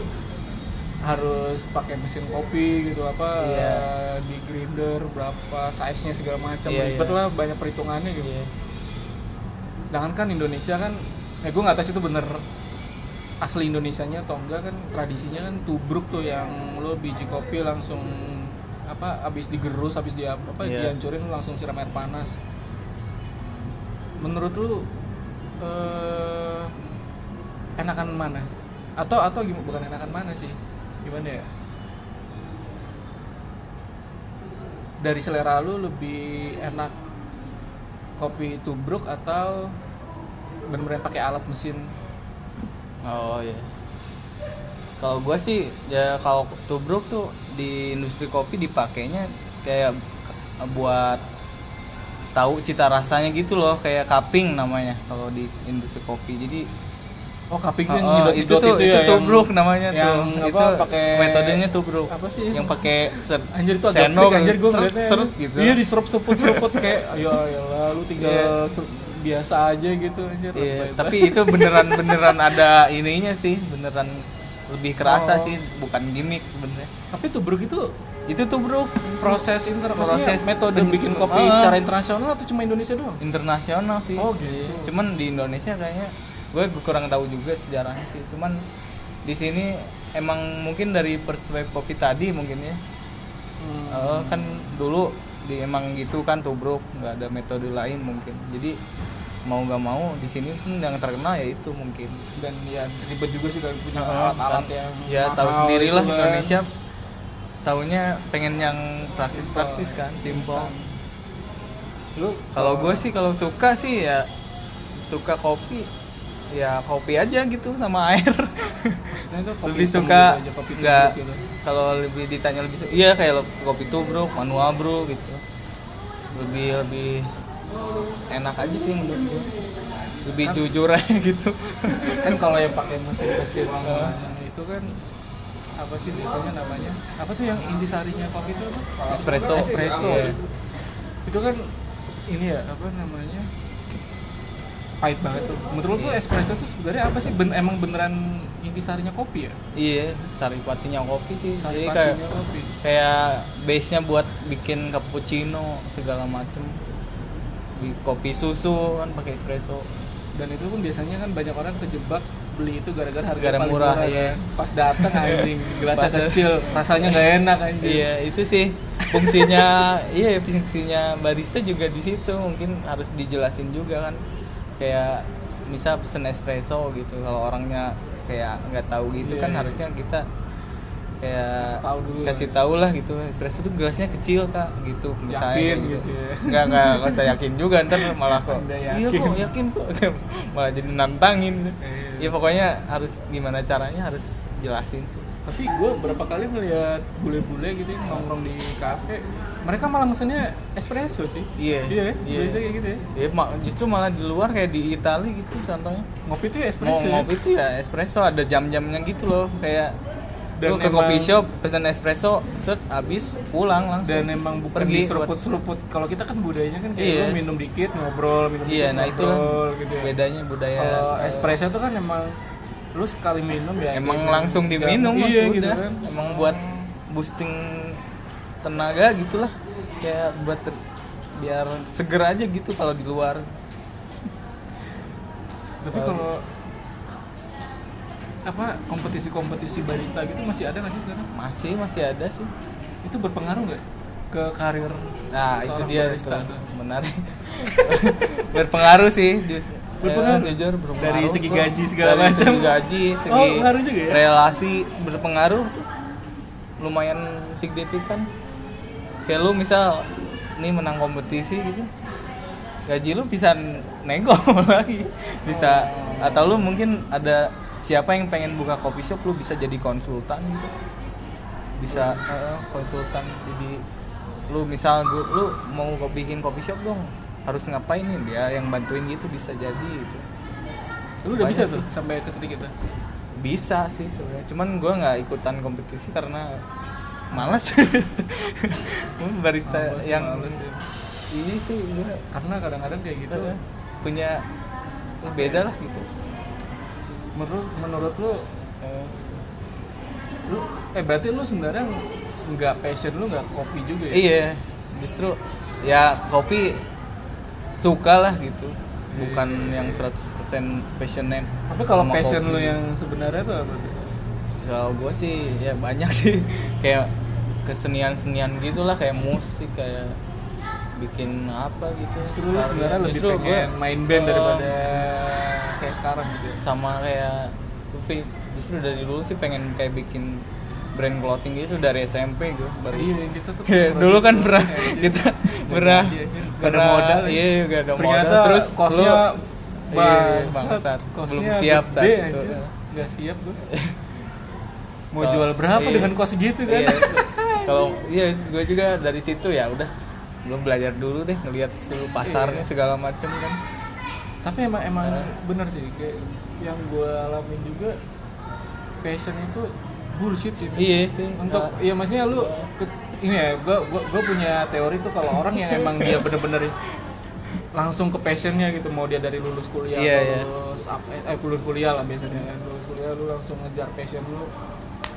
Speaker 1: harus pakai mesin kopi gitu apa
Speaker 2: Iya.
Speaker 1: eh, di grinder berapa size-nya segala macam
Speaker 2: Iya,
Speaker 1: ribet
Speaker 2: iya.
Speaker 1: lah banyak perhitungannya gitu. Sedangkan kan Indonesia kan eh gue nggak tahu sih itu bener asli Indonesianya atau enggak kan tradisinya kan tubruk tuh yang lo biji kopi langsung apa abis digerus abis di apa
Speaker 2: Iya.
Speaker 1: dihancurin langsung siram air panas. Menurut lu eh, enakan mana? Atau atau gimana bukan enakan mana sih? Gimana ya? Dari selera lu lebih enak kopi tubruk atau bener-bener pakai alat mesin
Speaker 2: Oh iya. Kalau gua sih ya kalau tubruk tuh di industri kopi dipakainya kayak k- buat tahu cita rasanya gitu loh kayak cupping namanya kalau di industri kopi. Jadi
Speaker 1: Oh, kaping yang
Speaker 2: oh,
Speaker 1: nyedot
Speaker 2: itu tuh itu,
Speaker 1: ya, yang-
Speaker 2: tubruk namanya
Speaker 1: yang
Speaker 2: tuh.
Speaker 1: apa,
Speaker 2: itu
Speaker 1: pakai
Speaker 2: metodenya tubruk.
Speaker 1: apa sih?
Speaker 2: Yang pakai ser
Speaker 1: anjir itu agak
Speaker 2: sendok,
Speaker 1: freak, anjir gue
Speaker 2: seret-
Speaker 1: ngeliatnya
Speaker 2: seret
Speaker 1: anjir.
Speaker 2: gitu.
Speaker 1: Iya, diseruput-seruput kayak ayo ayolah lu tinggal
Speaker 2: Iya.
Speaker 1: serup- biasa aja gitu anjir.
Speaker 2: Iya,
Speaker 1: lebay
Speaker 2: tapi
Speaker 1: banget.
Speaker 2: itu beneran beneran ada ininya sih, beneran lebih kerasa
Speaker 1: Oh.
Speaker 2: sih, bukan gimmick sebenarnya.
Speaker 1: tapi tubruk itu
Speaker 2: Itu tubruk
Speaker 1: proses inter maksudnya
Speaker 2: Proses
Speaker 1: metode
Speaker 2: pen-
Speaker 1: bikin kopi
Speaker 2: Ah.
Speaker 1: secara internasional atau cuma Indonesia doang?
Speaker 2: internasional sih.
Speaker 1: Oh, gitu.
Speaker 2: Cuman di Indonesia kayaknya gue kurang tahu juga sejarahnya sih. Cuman di sini emang mungkin dari perspektif kopi tadi mungkin ya.
Speaker 1: Hmm.
Speaker 2: Eh, kan dulu di emang gitu kan tubruk nggak ada metode lain mungkin. Jadi mau nggak mau di sini pun yang terkenal ya itu mungkin.
Speaker 1: Dan ya ribet juga sih kalau punya
Speaker 2: Heeh,
Speaker 1: alat-alat
Speaker 2: kan.
Speaker 1: yang
Speaker 2: ya tahu
Speaker 1: mahal
Speaker 2: sendirilah
Speaker 1: gitu kan.
Speaker 2: Indonesia tahunya pengen yang praktis-praktis kan, simple.
Speaker 1: Lu
Speaker 2: Kalau gue sih kalau suka sih ya suka kopi ya kopi aja gitu sama air.
Speaker 1: maksudnya itu kopi
Speaker 2: lebih
Speaker 1: hitam
Speaker 2: suka
Speaker 1: gitu aja, kopi tubruk
Speaker 2: nggak
Speaker 1: gitu.
Speaker 2: kalau lebih ditanya lebih suka iya kayak lo- kopi tubruk, manual bro gitu. Lebih lebih enak aja sih menurut gue. Lebih jujur aja gitu.
Speaker 1: kan kalau yang pakai mesin mesin itu kan apa sih biasanya namanya apa tuh yang intisarinya kopi itu apa
Speaker 2: Espresso.
Speaker 1: espresso
Speaker 2: Iya.
Speaker 1: itu kan ini ya apa namanya pahit banget tuh menurut lu tuh espresso tuh sebenarnya apa sih ben emang beneran intisarinya kopi ya
Speaker 2: Iya, saripatinya kopi sih. Jadi kayak
Speaker 1: Saripatinya kopi
Speaker 2: kayak base nya buat bikin cappuccino segala macem Di kopi susu kan pakai espresso
Speaker 1: dan itu pun biasanya kan banyak orang kejebak beli itu gara-gara harga
Speaker 2: Gara
Speaker 1: paling
Speaker 2: murah,
Speaker 1: kan.
Speaker 2: iya.
Speaker 1: pas datang anjing gelasnya
Speaker 2: Padahal-
Speaker 1: kecil rasanya nggak enak anjing
Speaker 2: iya itu sih fungsinya iya fungsinya barista juga di situ mungkin harus dijelasin juga kan kayak misal pesen espresso gitu kalau orangnya kayak nggak tahu gitu
Speaker 1: Iya,
Speaker 2: kan
Speaker 1: iya.
Speaker 2: harusnya kita kayak
Speaker 1: Kasih tahu dulu
Speaker 2: kasih
Speaker 1: lah.
Speaker 2: tahu lah gitu espresso tuh gelasnya kecil kak gitu misalnya
Speaker 1: Yakin
Speaker 2: kayak
Speaker 1: gitu ya.
Speaker 2: nggak nggak nggak saya yakin juga ntar malah kok
Speaker 1: Anda
Speaker 2: iya
Speaker 1: yakin."
Speaker 2: kok yakin kok malah jadi nantangin gitu.
Speaker 1: Iya.
Speaker 2: ya pokoknya harus gimana caranya harus jelasin sih
Speaker 1: Tapi gue berapa kali ngeliat bule-bule gitu yang nongkrong di kafe, mereka malah mesennya espresso sih.
Speaker 2: Iya,
Speaker 1: Iya, ya?
Speaker 2: iya.
Speaker 1: biasanya kayak gitu ya.
Speaker 2: ya ma- justru malah di luar kayak di Italia gitu contohnya
Speaker 1: Ngopi tuh
Speaker 2: mau
Speaker 1: espresso. ya?
Speaker 2: ngopi itu ya espresso ada jam-jamnya gitu loh kayak
Speaker 1: Dan
Speaker 2: lu ke
Speaker 1: emang-
Speaker 2: kopi shop pesan espresso set abis pulang langsung
Speaker 1: Dan emang bukan
Speaker 2: Pergi
Speaker 1: diseruput-seruput. Kalau kita kan budayanya kan kayak
Speaker 2: Iya.
Speaker 1: lu minum dikit, ngobrol, minum
Speaker 2: iya
Speaker 1: dikit,
Speaker 2: nah
Speaker 1: ngobrol
Speaker 2: itulah
Speaker 1: gitu ya.
Speaker 2: bedanya budaya
Speaker 1: Kalau
Speaker 2: eh,
Speaker 1: espresso tuh kan emang lu sekali minum ya.
Speaker 2: emang
Speaker 1: kayak
Speaker 2: langsung
Speaker 1: jam-
Speaker 2: diminum lah,
Speaker 1: Iya
Speaker 2: udah.
Speaker 1: gitu kan.
Speaker 2: emang buat boosting tenaga gitulah kayak buat ter- biar seger aja gitu kalau di luar
Speaker 1: Tapi kalau apa kompetisi-kompetisi barista gitu masih ada nggak sih sekarang?
Speaker 2: masih masih ada sih
Speaker 1: Itu berpengaruh nggak ke karir?
Speaker 2: nah itu
Speaker 1: seorang
Speaker 2: dia itu
Speaker 1: barista tuh?
Speaker 2: menarik berpengaruh sih justru
Speaker 1: Berpengaruh?
Speaker 2: Eh, jujur berpengaruh
Speaker 1: Dari segi
Speaker 2: kok.
Speaker 1: gaji segala
Speaker 2: Dari
Speaker 1: macam?
Speaker 2: segi gaji segi
Speaker 1: Oh, ngaruh juga ya?
Speaker 2: relasi berpengaruh tuh lumayan signifikan kayak lu misal nih menang kompetisi gitu gaji lu bisa nego lagi bisa
Speaker 1: Oh.
Speaker 2: atau lu mungkin ada siapa yang pengen buka coffee shop lu bisa jadi konsultan gitu bisa eh, konsultan jadi lu misal gua, lu mau gua bikin coffee shop dong harus ngapain nih dia yang bantuin gitu bisa jadi gitu
Speaker 1: Lu udah bisa
Speaker 2: Banyak
Speaker 1: tuh sampai ke titik itu.
Speaker 2: bisa sih sebenarnya cuman gua nggak ikutan kompetisi karena males barista
Speaker 1: Males,
Speaker 2: yang
Speaker 1: males ya.
Speaker 2: ini sih gua
Speaker 1: Karena kadang-kadang kayak gitu.
Speaker 2: eh, punya beda lah gitu
Speaker 1: Menurut menurut lu eh, lu eh berarti lu sebenarnya nggak passion lu nggak kopi juga ya?
Speaker 2: Iya, justru ya kopi suka lah gitu. Bukan yang 100% passionate.
Speaker 1: Iya, Tapi kalau
Speaker 2: sama
Speaker 1: passion
Speaker 2: kopi.
Speaker 1: lu yang sebenarnya tuh apa? tuh?
Speaker 2: kalau gue sih ya banyak sih kayak kesenian-senian gitulah kayak musik kayak bikin apa gitu.
Speaker 1: Justru lu
Speaker 2: Karya.
Speaker 1: sebenarnya lebih
Speaker 2: Justru gua,
Speaker 1: pengen main band
Speaker 2: eh,
Speaker 1: daripada kayak sekarang gitu. ya?
Speaker 2: sama kayak tapi justru dari dulu sih pengen kayak bikin brand clothing gitu dari SMP gue baru
Speaker 1: Iya, yang kita tuh
Speaker 2: Iya,
Speaker 1: pernah
Speaker 2: dulu kan
Speaker 1: bikin
Speaker 2: pernah
Speaker 1: kayak gitu.
Speaker 2: kita pernah
Speaker 1: jadi aja. Gak ada
Speaker 2: pernah-
Speaker 1: modal, ya.
Speaker 2: iya gak ada
Speaker 1: Ternyata
Speaker 2: modal terus
Speaker 1: kosnya
Speaker 2: lu- iya, iya, bangsat belum siap saat
Speaker 1: gede
Speaker 2: itu
Speaker 1: aja. Nggak siap gue. Mau
Speaker 2: Kalau-
Speaker 1: jual berapa
Speaker 2: iya.
Speaker 1: dengan kos gitu kan?
Speaker 2: Iya, kalau iya gue juga dari situ ya udah gue belajar dulu deh ngelihat dulu pasarnya
Speaker 1: Iya.
Speaker 2: segala macem kan
Speaker 1: Tapi emang emang bener sih kayak yang gue alamin juga passion itu bullshit sih. men.
Speaker 2: iya sih
Speaker 1: Untuk
Speaker 2: nah,
Speaker 1: ya maksudnya lu ke- ini ya gua gua, gua punya teori tuh kalau orang yang emang dia bener-bener langsung ke passionnya gitu mau dia dari lulus kuliah
Speaker 2: Iya,
Speaker 1: atau
Speaker 2: iya.
Speaker 1: lulus apa eh lulus kuliah lah biasanya kan. lulus kuliah lu langsung ngejar passion lu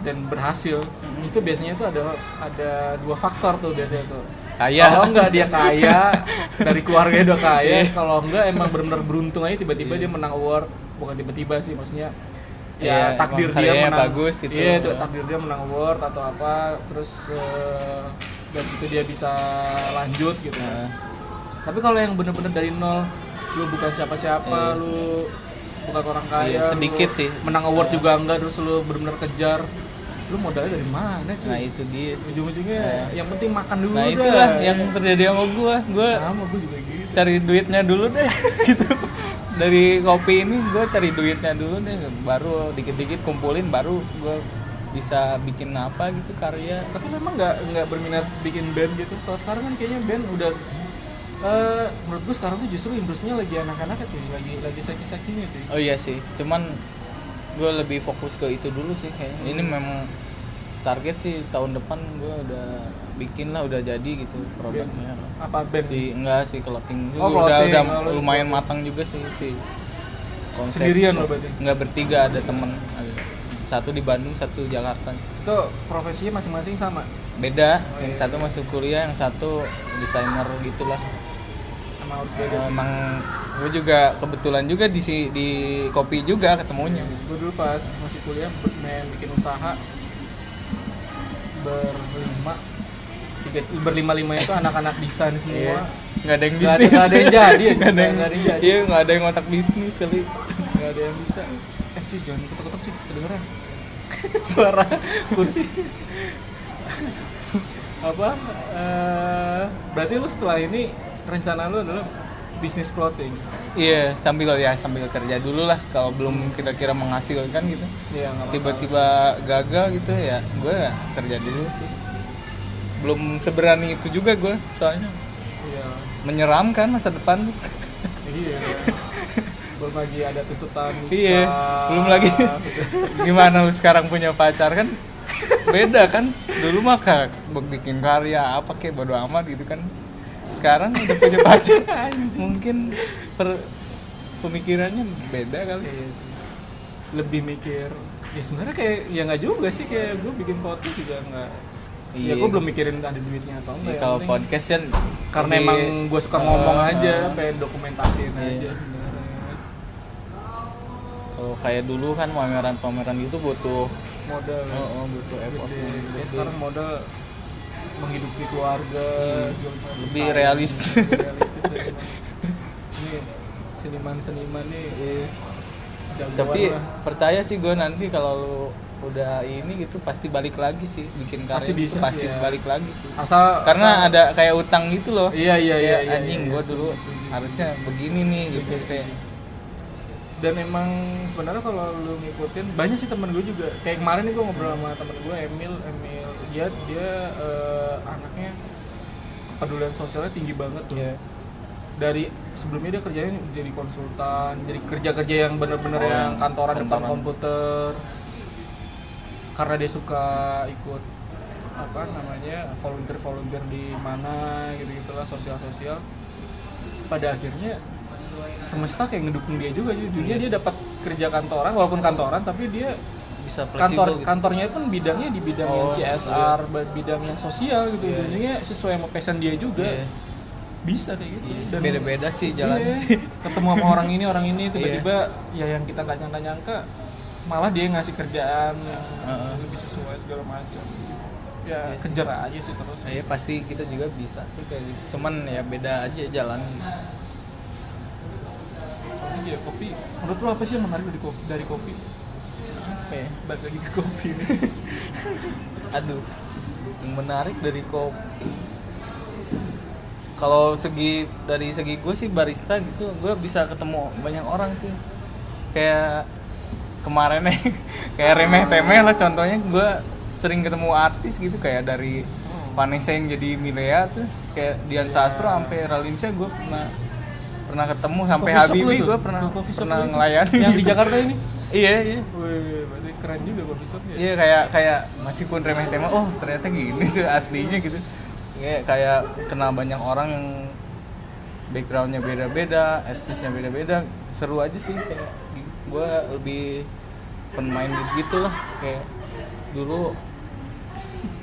Speaker 1: dan berhasil
Speaker 2: Mm-hmm.
Speaker 1: itu biasanya tuh ada ada dua faktor tuh biasanya tuh
Speaker 2: Kaya.
Speaker 1: kalau Oh, enggak dia kaya dari keluarganya udah kaya
Speaker 2: Iya.
Speaker 1: kalau enggak emang bener-bener beruntung aja tiba-tiba dia menang award bukan tiba-tiba sih maksudnya ya
Speaker 2: Iya,
Speaker 1: takdir
Speaker 2: emang
Speaker 1: dia
Speaker 2: karyanya
Speaker 1: menang
Speaker 2: bagus gitu.
Speaker 1: iya itu takdir dia menang award atau apa terus eh, dari situ dia bisa lanjut gitu
Speaker 2: Iya.
Speaker 1: kan. tapi kalau yang bener-bener dari nol lu bukan siapa-siapa lu bukan orang kaya
Speaker 2: Iya, sedikit
Speaker 1: lu
Speaker 2: sih. Iya.
Speaker 1: menang award juga enggak terus lu bener-bener kejar lu modalnya dari mana
Speaker 2: nah
Speaker 1: cuy
Speaker 2: itu dia sih
Speaker 1: ujung-ujungnya yang penting makan dulu
Speaker 2: nah
Speaker 1: dah.
Speaker 2: itulah yang terjadi sama gue gue
Speaker 1: sama gue juga gitu
Speaker 2: cari duitnya dulu deh gitu dari kopi ini gue cari duitnya dulu deh baru dikit-dikit kumpulin baru gue bisa bikin apa gitu karya
Speaker 1: tapi memang nggak nggak berminat bikin band gitu kalau sekarang kan kayaknya band udah eh menurut gue sekarang tuh justru industrinya lagi anak-anak tuh lagi lagi seksi-seksinya tuh
Speaker 2: oh iya sih cuman gue lebih fokus ke itu dulu sih kayaknya ini memang target sih tahun depan gue udah bikin lah udah jadi gitu produknya
Speaker 1: apa band
Speaker 2: si enggak sih clothing
Speaker 1: Oh,
Speaker 2: juga udah
Speaker 1: clothing.
Speaker 2: udah
Speaker 1: Oh, lu-
Speaker 2: lumayan matang juga sih si konsep
Speaker 1: sendirian loh berarti
Speaker 2: nggak bertiga ada temen Ada- satu di Bandung satu Jakarta
Speaker 1: itu profesinya masing-masing sama
Speaker 2: beda yang satu masuk kuliah yang satu desainer gitulah
Speaker 1: sama harus beda
Speaker 2: emang gue juga kebetulan juga di si di kopi juga ketemunya
Speaker 1: gue dulu pas masih kuliah main bikin usaha berlima tiga berlima lima itu anak-anak desain semua
Speaker 2: Iya. nggak ada yang
Speaker 1: Nggak ada-
Speaker 2: bisnis Iya,
Speaker 1: nggak ada yang jadi,
Speaker 2: nggak ada yang
Speaker 1: nggak ada yang jadi.
Speaker 2: iya nggak ada yang otak bisnis kali
Speaker 1: nggak ada yang bisa eh cuy jangan ketok-ketok cuy kedengeran suara kursi apa eh, berarti lu setelah ini rencana lu adalah bisnis clothing
Speaker 2: iya sambil ya sambil kerja dulu lah kalau belum kira-kira menghasilkan gitu
Speaker 1: Iya, nggak masalah.
Speaker 2: tiba-tiba gagal gitu ya gue ya kerja dulu sih belum seberani itu juga gue soalnya
Speaker 1: Iya.
Speaker 2: menyeramkan masa depan tuh.
Speaker 1: Iya. Belum lagi ada tuntutan.
Speaker 2: iya
Speaker 1: nikah,
Speaker 2: belum lagi
Speaker 1: gitu.
Speaker 2: gimana lu sekarang punya pacar kan beda kan dulu mah kak bikin karya apa kek bodo amat gitu kan sekarang udah punya pacar mungkin per- pemikirannya beda kali
Speaker 1: Iya sih. Lebih mikir ya sebenarnya kayak ya nggak juga sih kayak gue bikin podcast juga nggak ya
Speaker 2: Iya.
Speaker 1: gue belum mikirin ada duitnya atau
Speaker 2: Ya,
Speaker 1: enggak yang
Speaker 2: kalau
Speaker 1: penting.
Speaker 2: podcast kan
Speaker 1: karena
Speaker 2: lebih-
Speaker 1: emang gue suka ngomong
Speaker 2: Eh,
Speaker 1: aja
Speaker 2: eh.
Speaker 1: pengen dokumentasiin
Speaker 2: Iya.
Speaker 1: aja sebenarnya
Speaker 2: kalau kayak dulu kan pameran-pameran gitu butuh
Speaker 1: modal
Speaker 2: oh, oh, butuh effort
Speaker 1: gede.
Speaker 2: yang
Speaker 1: ya
Speaker 2: gede.
Speaker 1: sekarang modal menghidupi keluarga jual produk
Speaker 2: Iya. lebih
Speaker 1: sayur,
Speaker 2: realistis.
Speaker 1: lebih realistis ya, emang. ini seniman-seniman nih jagoan
Speaker 2: tapi
Speaker 1: lah.
Speaker 2: percaya sih gue nanti kalau lu udah ini gitu pasti balik lagi sih bikin
Speaker 1: Pasti
Speaker 2: karya itu
Speaker 1: bisa sih,
Speaker 2: pasti
Speaker 1: ya.
Speaker 2: balik lagi sih
Speaker 1: asal
Speaker 2: karena ada kayak utang gitu loh
Speaker 1: Iya, iya, iya,
Speaker 2: Kayak,
Speaker 1: iya,
Speaker 2: anjing
Speaker 1: iya,
Speaker 2: gue
Speaker 1: setuju,
Speaker 2: dulu
Speaker 1: setuju,
Speaker 2: harusnya begini nih gitu kayak
Speaker 1: dan emang sebenarnya kalau lu ngikutin banyak sih temen gue juga kayak kemarin nih gue ngobrol sama temen gue Emil Emil dia dia eh, anaknya kepedulian sosialnya tinggi banget tuh
Speaker 2: Iya.
Speaker 1: dari sebelumnya dia kerjanya jadi konsultan jadi kerja-kerja yang bener-bener
Speaker 2: Oh,
Speaker 1: yang kantoran, depan
Speaker 2: kantoran.
Speaker 1: komputer karena dia suka ikut apa namanya volunteer volunteer di mana gitu gitulah sosial sosial pada akhirnya semesta kayak ngedukung dia juga sih ujungnya dia dapat kerja kantoran walaupun kantoran tapi dia
Speaker 2: bisa fleksibel
Speaker 1: kantor kan-
Speaker 2: gitu.
Speaker 1: kantornya pun bidangnya di bidang yang
Speaker 2: Oh,
Speaker 1: CSR ba- bidang yang sosial gitu
Speaker 2: Iya.
Speaker 1: ujungnya sesuai sama passion dia juga
Speaker 2: Iya.
Speaker 1: bisa kayak gitu
Speaker 2: Iya,
Speaker 1: Dan-
Speaker 2: beda-beda sih jalannya
Speaker 1: Iya.
Speaker 2: sih Iya.
Speaker 1: ketemu sama orang ini orang ini tiba-tiba ya yang kita nggak nyangka-nyangka malah dia ngasih kerjaan yang
Speaker 2: Heeh.
Speaker 1: lebih sesuai segala macam ya
Speaker 2: Iya sih.
Speaker 1: kejar aja sih terus
Speaker 2: Iya pasti kita juga bisa sih kayak gitu. Cuman ya beda aja jalan.
Speaker 1: Apalagi ya kopi menurut lo apa sih yang menarik dari kopi dari kopi
Speaker 2: Apa ya?
Speaker 1: balik lagi ke kopi ini
Speaker 2: Aduh, yang menarik dari kopi. Kalau segi dari segi gue sih barista gitu, gue bisa ketemu banyak orang sih. Kayak kemarin nih, kayak remeh temeh lah contohnya gue sering ketemu artis gitu kayak dari
Speaker 1: Hmm.
Speaker 2: Vanessa yang jadi Milea tuh kayak
Speaker 1: Iya.
Speaker 2: Dian Sastro sampai Ralinsyah gue pernah pernah ketemu sampai
Speaker 1: Coffee shop
Speaker 2: Habibie
Speaker 1: lo itu?
Speaker 2: gue pernah
Speaker 1: Coffee shop
Speaker 2: pernah
Speaker 1: lo itu?
Speaker 2: ngelayanin
Speaker 1: yang di
Speaker 2: gitu.
Speaker 1: Jakarta ini
Speaker 2: iya iya
Speaker 1: Wih, berarti keren juga kopi ya? shopnya
Speaker 2: Iya kayak kayak masih pun remeh tema. Oh ternyata gini tuh aslinya gitu. Kayak kayak kenal banyak orang yang backgroundnya beda-beda, etnisnya beda-beda. Seru aja sih. Kayak gi- gua lebih pemain gitu lah. Kayak dulu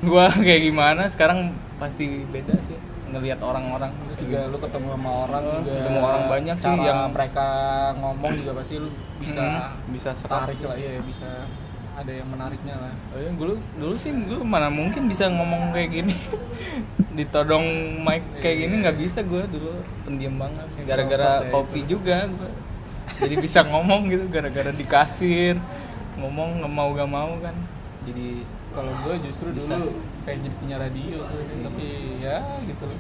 Speaker 2: gua kayak gimana sekarang pasti beda sih ngelihat orang-orang
Speaker 1: terus juga lu ketemu sama orang
Speaker 2: Eh,
Speaker 1: juga
Speaker 2: ketemu orang banyak sih
Speaker 1: Iya. cara
Speaker 2: yang-
Speaker 1: mereka ngomong juga pasti lu bisa
Speaker 2: Mm, bisa serap
Speaker 1: tarik
Speaker 2: sih.
Speaker 1: lah ya bisa ada yang menariknya lah
Speaker 2: Oh iya, dulu dulu sih gue mana mungkin bisa ngomong kayak gini ditodong mic kayak
Speaker 1: Iya.
Speaker 2: gini nggak bisa gue dulu pendiam banget
Speaker 1: Introvert
Speaker 2: gara-gara
Speaker 1: ya
Speaker 2: kopi juga gue jadi bisa ngomong gitu gara-gara di kasir ngomong nggak mau gak mau kan jadi
Speaker 1: kalau gue justru
Speaker 2: Bisa
Speaker 1: dulu
Speaker 2: sih.
Speaker 1: pengen jadi penyiar radio sebenarnya, tapi ya gitu loh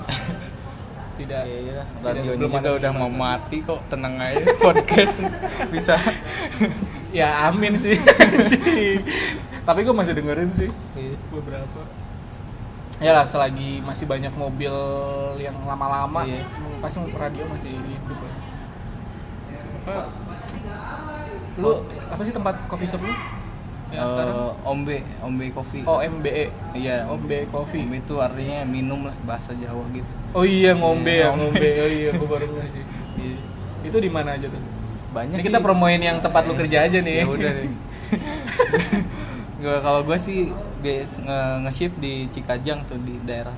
Speaker 1: tidak
Speaker 2: ya iya
Speaker 1: tidak-
Speaker 2: radionya
Speaker 1: belum
Speaker 2: juga
Speaker 1: ada
Speaker 2: udah mau
Speaker 1: kesempatan.
Speaker 2: mati kok tenang aja podcast bisa
Speaker 1: ya amin sih tapi gue masih dengerin sih
Speaker 2: Iya.
Speaker 1: beberapa ya lah selagi masih banyak mobil yang lama-lama
Speaker 2: Iya.
Speaker 1: pasti radio masih hidup lah. apa lu apa sih tempat coffee shop lu yang
Speaker 2: Eh,
Speaker 1: Ya, sekarang
Speaker 2: ombe ombe kopi
Speaker 1: OMBE
Speaker 2: iya
Speaker 1: Ombe E Coffee
Speaker 2: ombe itu artinya minum lah bahasa Jawa gitu
Speaker 1: oh iya ngombe ya
Speaker 2: Iya, ngombe.
Speaker 1: ngombe oh iya gue baru ngerti sih itu di mana aja tuh Iya.
Speaker 2: banyak
Speaker 1: ini kita
Speaker 2: sih.
Speaker 1: promoin yang tempat lu kerja aja nih
Speaker 2: ya udah deh gua kalau gue sih bias nge- nge-shift di Cikajang tuh di daerah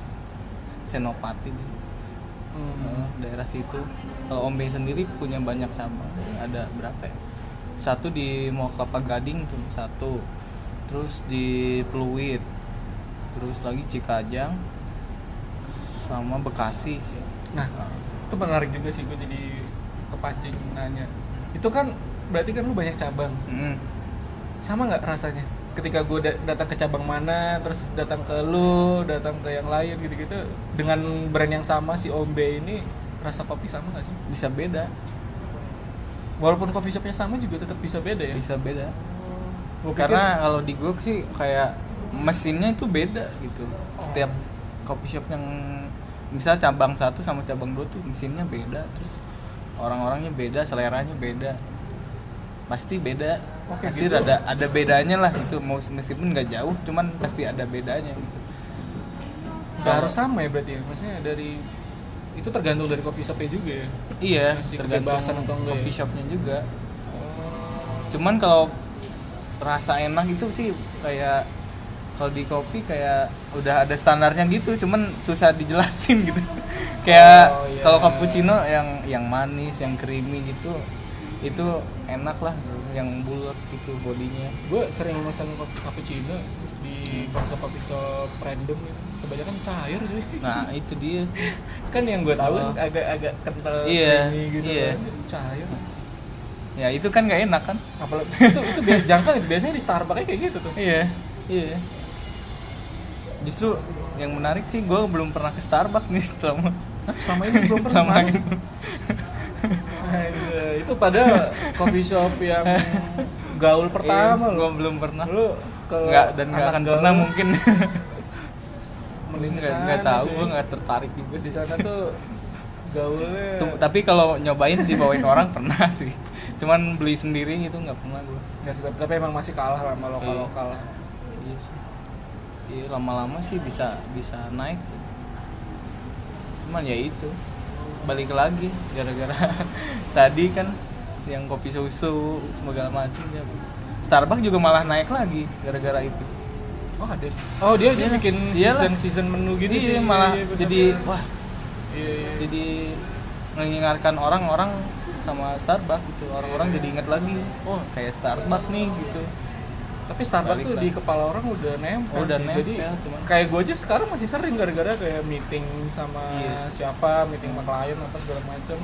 Speaker 2: Senopati nih.
Speaker 1: Hmm.
Speaker 2: Eh, daerah situ kalau Ombe sendiri punya banyak cabang ada berapa ya? satu di Mall Kelapa Gading tuh satu terus di Pluit terus lagi Cikajang sama Bekasi sih
Speaker 1: nah
Speaker 2: Eh,
Speaker 1: itu menarik juga sih gue jadi kepancing nanya itu kan berarti kan lu banyak cabang
Speaker 2: mm.
Speaker 1: sama nggak rasanya ketika gue datang ke cabang mana terus datang ke lu datang ke yang lain gitu-gitu dengan brand yang sama si Ombe ini rasa kopi sama nggak sih
Speaker 2: bisa beda
Speaker 1: walaupun coffee shopnya sama juga tetap bisa beda ya
Speaker 2: bisa beda
Speaker 1: Gua pikir-
Speaker 2: karena kalau di gue sih kayak mesinnya itu beda gitu
Speaker 1: Oh.
Speaker 2: setiap coffee shop yang misalnya cabang satu sama cabang dua tuh mesinnya beda terus orang-orangnya beda seleranya beda pasti beda
Speaker 1: Oke,
Speaker 2: pasti
Speaker 1: gitu.
Speaker 2: ada ada bedanya lah gitu mau meskipun nggak jauh cuman pasti ada bedanya gitu Nah,
Speaker 1: nggak harus sama ya berarti ya maksudnya dari itu tergantung dari coffee shopnya juga ya
Speaker 2: iya
Speaker 1: Masih
Speaker 2: tergantung
Speaker 1: kebebasan atau enggak
Speaker 2: coffee
Speaker 1: ya?
Speaker 2: shopnya juga cuman kalau rasa enak itu sih kayak kalau di kopi kayak udah ada standarnya gitu cuman susah dijelasin gitu kayak
Speaker 1: Oh, iya.
Speaker 2: kalau cappuccino yang yang manis yang creamy gitu itu enak lah yang bulat gitu bodinya
Speaker 1: gue sering pesan kap- cappuccino di coffee shop coffee shop random gitu. kebanyakan cair jadi
Speaker 2: nah itu dia sih.
Speaker 1: kan yang gue tahu
Speaker 2: Oh.
Speaker 1: agak-agak kental
Speaker 2: Iya,
Speaker 1: creamy gitu
Speaker 2: iya.
Speaker 1: kan. cair
Speaker 2: ya itu kan nggak enak kan
Speaker 1: apalagi itu itu biasa jangkar biasanya di Starbucks kayak gitu tuh
Speaker 2: iya iya justru yang menarik sih gue belum pernah ke Starbucks nih selama
Speaker 1: Hah, selama Ah, ini belum pernah
Speaker 2: selama
Speaker 1: Mas.
Speaker 2: ini.
Speaker 1: Aja, itu pada coffee shop yang gaul pertama
Speaker 2: gue Iya, belum pernah
Speaker 1: lu ke
Speaker 2: nggak dan nggak
Speaker 1: anak
Speaker 2: akan
Speaker 1: gaul,
Speaker 2: pernah mungkin
Speaker 1: mending
Speaker 2: nggak
Speaker 1: kesana,
Speaker 2: nggak tahu
Speaker 1: cuy.
Speaker 2: gue nggak tertarik juga
Speaker 1: di
Speaker 2: sih
Speaker 1: sana ya. tuh gaulnya
Speaker 2: Tu- tapi kalau nyobain dibawain orang pernah sih cuman beli sendiri itu nggak pernah gue
Speaker 1: Ya, tetap- tapi emang masih kalah sama lokal lokal
Speaker 2: iya sih Iya, lama-lama sih bisa bisa naik sih cuman ya itu balik lagi gara-gara tadi kan yang kopi susu segala macam ya Starbucks juga malah naik lagi gara-gara itu
Speaker 1: oh ada oh dia dia
Speaker 2: Iya.
Speaker 1: bikin season
Speaker 2: Iyalah.
Speaker 1: season menu gitu
Speaker 2: Iya,
Speaker 1: sih
Speaker 2: malah
Speaker 1: Iya, bener-bener.
Speaker 2: jadi wah
Speaker 1: Iya, iya.
Speaker 2: jadi mengingatkan orang-orang sama Starbucks gitu orang-orang jadi ingat lagi oh kayak Starbucks nih gitu
Speaker 1: tapi Starbucks
Speaker 2: Balik
Speaker 1: tuh
Speaker 2: lah.
Speaker 1: di kepala orang udah nempel
Speaker 2: Oh, udah
Speaker 1: sih.
Speaker 2: nempel,
Speaker 1: jadi
Speaker 2: cuman-
Speaker 1: kayak gue aja sekarang masih sering gara-gara kayak meeting sama
Speaker 2: Iya sih. Hmm.
Speaker 1: siapa meeting sama klien apa segala macam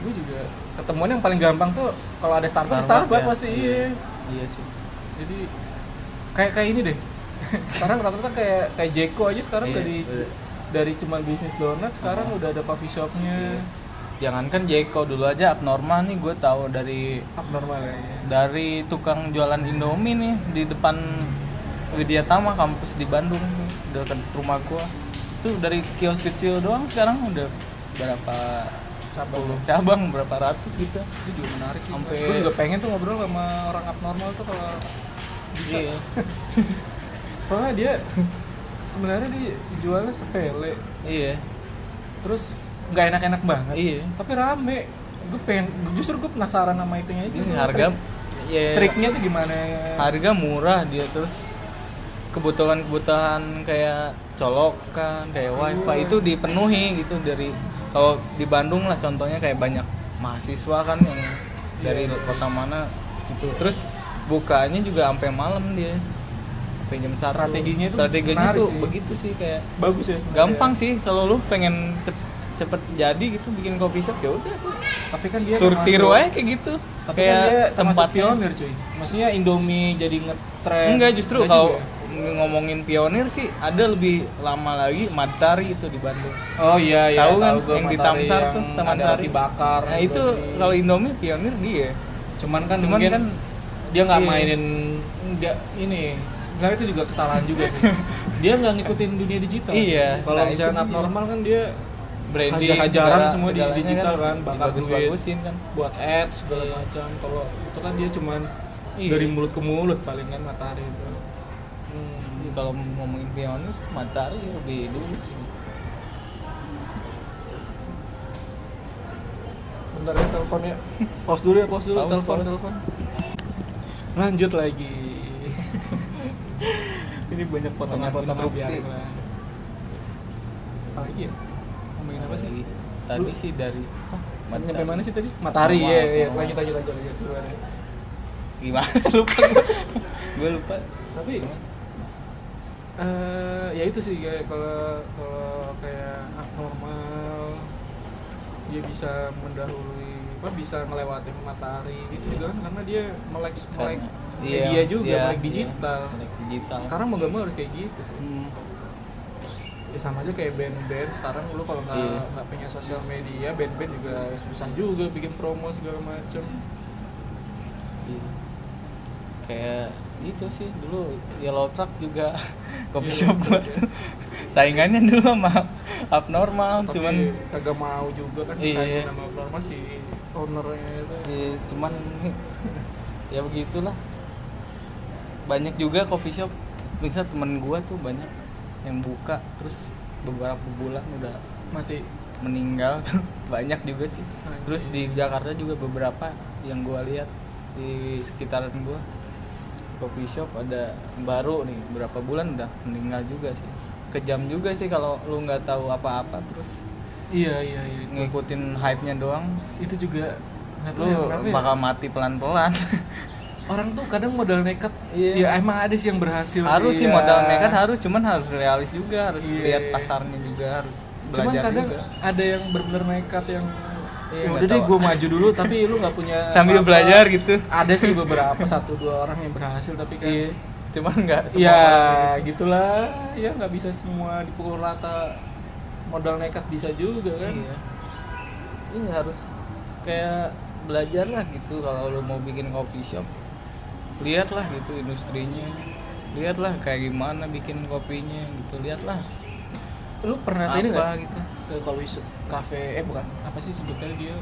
Speaker 1: gue juga ketemuan yang paling gampang tuh kalau ada Starbucks Starbucks
Speaker 2: ya.
Speaker 1: pasti iya.
Speaker 2: iya iya sih
Speaker 1: jadi kayak kayak ini deh sekarang rata-rata kayak kayak Jeko aja sekarang
Speaker 2: Iya,
Speaker 1: dari
Speaker 2: udah. Oh.
Speaker 1: dari cuman bisnis donat sekarang udah ada coffee
Speaker 2: Iya.
Speaker 1: shopnya
Speaker 2: jangankan Jeko dulu aja abnormal nih gue tahu dari
Speaker 1: abnormal ya iya.
Speaker 2: dari tukang jualan Indomie nih di depan Widya Tama kampus di Bandung dekat rumah gua tuh dari kios kecil doang sekarang udah berapa
Speaker 1: Cabang.
Speaker 2: puluh cabang berapa ratus gitu itu juga menarik sih sampai
Speaker 1: gue juga pengen tuh ngobrol sama orang abnormal tuh kalau bisa
Speaker 2: Iya.
Speaker 1: soalnya dia sebenarnya dia jualnya sepele
Speaker 2: iya
Speaker 1: terus nggak enak-enak banget
Speaker 2: Iya.
Speaker 1: tapi rame gue pengen justru gue penasaran sama itunya aja
Speaker 2: Ini
Speaker 1: tuh.
Speaker 2: harga ya
Speaker 1: Trik- triknya tuh gimana ya
Speaker 2: harga murah dia terus kebutuhan-kebutuhan kayak colokan
Speaker 1: Iya.
Speaker 2: kayak wifi itu dipenuhi gitu dari kalau di Bandung lah contohnya kayak banyak mahasiswa kan yang dari
Speaker 1: Iya.
Speaker 2: kota mana gitu terus bukanya juga sampai malam dia sampai jam satu
Speaker 1: Strateginya tuh
Speaker 2: strateginya
Speaker 1: menarik
Speaker 2: tuh
Speaker 1: sih.
Speaker 2: begitu sih kayak
Speaker 1: bagus ya sebenarnya.
Speaker 2: gampang sih kalau lu pengen cep- cepet jadi gitu bikin kopi shop ya udah
Speaker 1: tapi kan dia
Speaker 2: tur tiru
Speaker 1: termasuk-
Speaker 2: aja kayak gitu
Speaker 1: tapi
Speaker 2: kayak
Speaker 1: kan dia tempat
Speaker 2: tempatnya.
Speaker 1: pionir cuy maksudnya Indomie jadi ngetren
Speaker 2: Enggak justru
Speaker 1: Enggak
Speaker 2: kalau
Speaker 1: juga ya?
Speaker 2: ngomongin pionir sih ada lebih lama lagi Matahari itu di Bandung.
Speaker 1: oh iya iya
Speaker 2: tahu kan
Speaker 1: gua
Speaker 2: yang di
Speaker 1: Matahari
Speaker 2: Tamsar
Speaker 1: yang
Speaker 2: tuh, Taman
Speaker 1: ada
Speaker 2: Sari.
Speaker 1: roti bakar gitu.
Speaker 2: Nah, itu
Speaker 1: Indomie.
Speaker 2: kalau Indomie pionir dia.
Speaker 1: cuman kan
Speaker 2: Cuman
Speaker 1: mungkin
Speaker 2: kan
Speaker 1: dia nggak
Speaker 2: iya.
Speaker 1: mainin nggak ini sebenarnya itu juga kesalahan juga sih dia nggak ngikutin dunia digital
Speaker 2: Iya,
Speaker 1: kalau
Speaker 2: nah, itu
Speaker 1: misalnya
Speaker 2: dia.
Speaker 1: abnormal kan dia
Speaker 2: Branding
Speaker 1: Hajar-hajaran
Speaker 2: segala-
Speaker 1: semua di
Speaker 2: segalanya
Speaker 1: digital kan, bakar
Speaker 2: dibagus-bagusin kan.
Speaker 1: buat ads segala macam kalau itu kan dia cuman
Speaker 2: Iya.
Speaker 1: dari mulut ke mulut paling kan matahari itu hmm.
Speaker 2: Jadi Kalau ngomongin pionir sih Matahari lebih dulu sih.
Speaker 1: bentar ya telepon ya pause dulu ya pause dulu
Speaker 2: Pause,
Speaker 1: telepon
Speaker 2: pause.
Speaker 1: telepon lanjut lagi ini banyak potongan-potongan
Speaker 2: interupsi.
Speaker 1: biarin lah apalagi ya ngomongin apa sih
Speaker 2: Tadi sih dari oh,
Speaker 1: Mata. Nyampe
Speaker 2: Matahari.
Speaker 1: mana sih tadi? Matahari,
Speaker 2: Wow,
Speaker 1: iya, iya.
Speaker 2: wow.
Speaker 1: Lanjut, lanjut, lanjut, lanjut. Gimana?
Speaker 2: Gimana? lupa gua. Gua lupa.
Speaker 1: Tapi,
Speaker 2: ya.
Speaker 1: eh ya itu sih kayak kalau kalau kayak abnormal, dia bisa mendahului, apa bisa melewati matahari gitu juga kan karena dia melek melek
Speaker 2: Karena-
Speaker 1: media juga, melek digital.
Speaker 2: Iya, melek digital.
Speaker 1: Hmm. Sekarang mau gak mau harus kayak gitu sih.
Speaker 2: Hmm.
Speaker 1: ya sama aja kayak band-band sekarang lu kalau nggak
Speaker 2: Iya.
Speaker 1: nggak punya sosial media band-band juga susah juga bikin promo segala macem
Speaker 2: Iya. kayak itu sih dulu Yellow Truck juga kopi shop gua tuh saingannya dulu sama abnormal
Speaker 1: tapi
Speaker 2: cuman
Speaker 1: kagak mau juga kan
Speaker 2: Iya.
Speaker 1: disaingin sama Pharma si ownernya itu
Speaker 2: Iya, cuman ya begitulah banyak juga coffee shop misal temen gua tuh banyak yang buka terus beberapa bulan udah
Speaker 1: mati
Speaker 2: meninggal tuh banyak juga sih
Speaker 1: Anjing.
Speaker 2: terus di Jakarta juga beberapa yang gua lihat di sekitaran gua coffee shop ada baru nih berapa bulan udah meninggal juga sih kejam juga sih kalau lu nggak tahu apa-apa terus
Speaker 1: iya iya iya itu,
Speaker 2: ngikutin hype-nya doang
Speaker 1: itu juga nggak tahu ya
Speaker 2: lu
Speaker 1: kenapa ya.
Speaker 2: bakal mati pelan-pelan
Speaker 1: orang tuh kadang modal nekat
Speaker 2: Iya.
Speaker 1: ya emang ada sih yang berhasil
Speaker 2: harus sih
Speaker 1: Iya.
Speaker 2: modal nekat harus cuman harus realis juga harus
Speaker 1: Iya.
Speaker 2: lihat pasarnya juga harus
Speaker 1: cuman
Speaker 2: belajar
Speaker 1: kadang
Speaker 2: juga
Speaker 1: ada yang bener-bener nekat yang
Speaker 2: Iya,
Speaker 1: ya
Speaker 2: nggak
Speaker 1: udah deh
Speaker 2: tahu.
Speaker 1: gue maju dulu tapi lu nggak punya
Speaker 2: sambil
Speaker 1: apa-apa."
Speaker 2: belajar gitu
Speaker 1: ada sih beberapa satu dua orang yang berhasil tapi kan
Speaker 2: iya cuman nggak semua
Speaker 1: ya
Speaker 2: orang.
Speaker 1: gitulah ya nggak bisa semua dipukul rata modal nekat bisa juga kan
Speaker 2: iya ini Iya, harus kayak belajar lah gitu kalau lo mau bikin kopi shop lihatlah gitu industrinya lihatlah kayak gimana bikin kopinya gitu lihatlah
Speaker 1: lu pernah
Speaker 2: apa
Speaker 1: ini nggak
Speaker 2: gitu
Speaker 1: ke kalau isu- kafe eh bukan apa sih sebutnya dia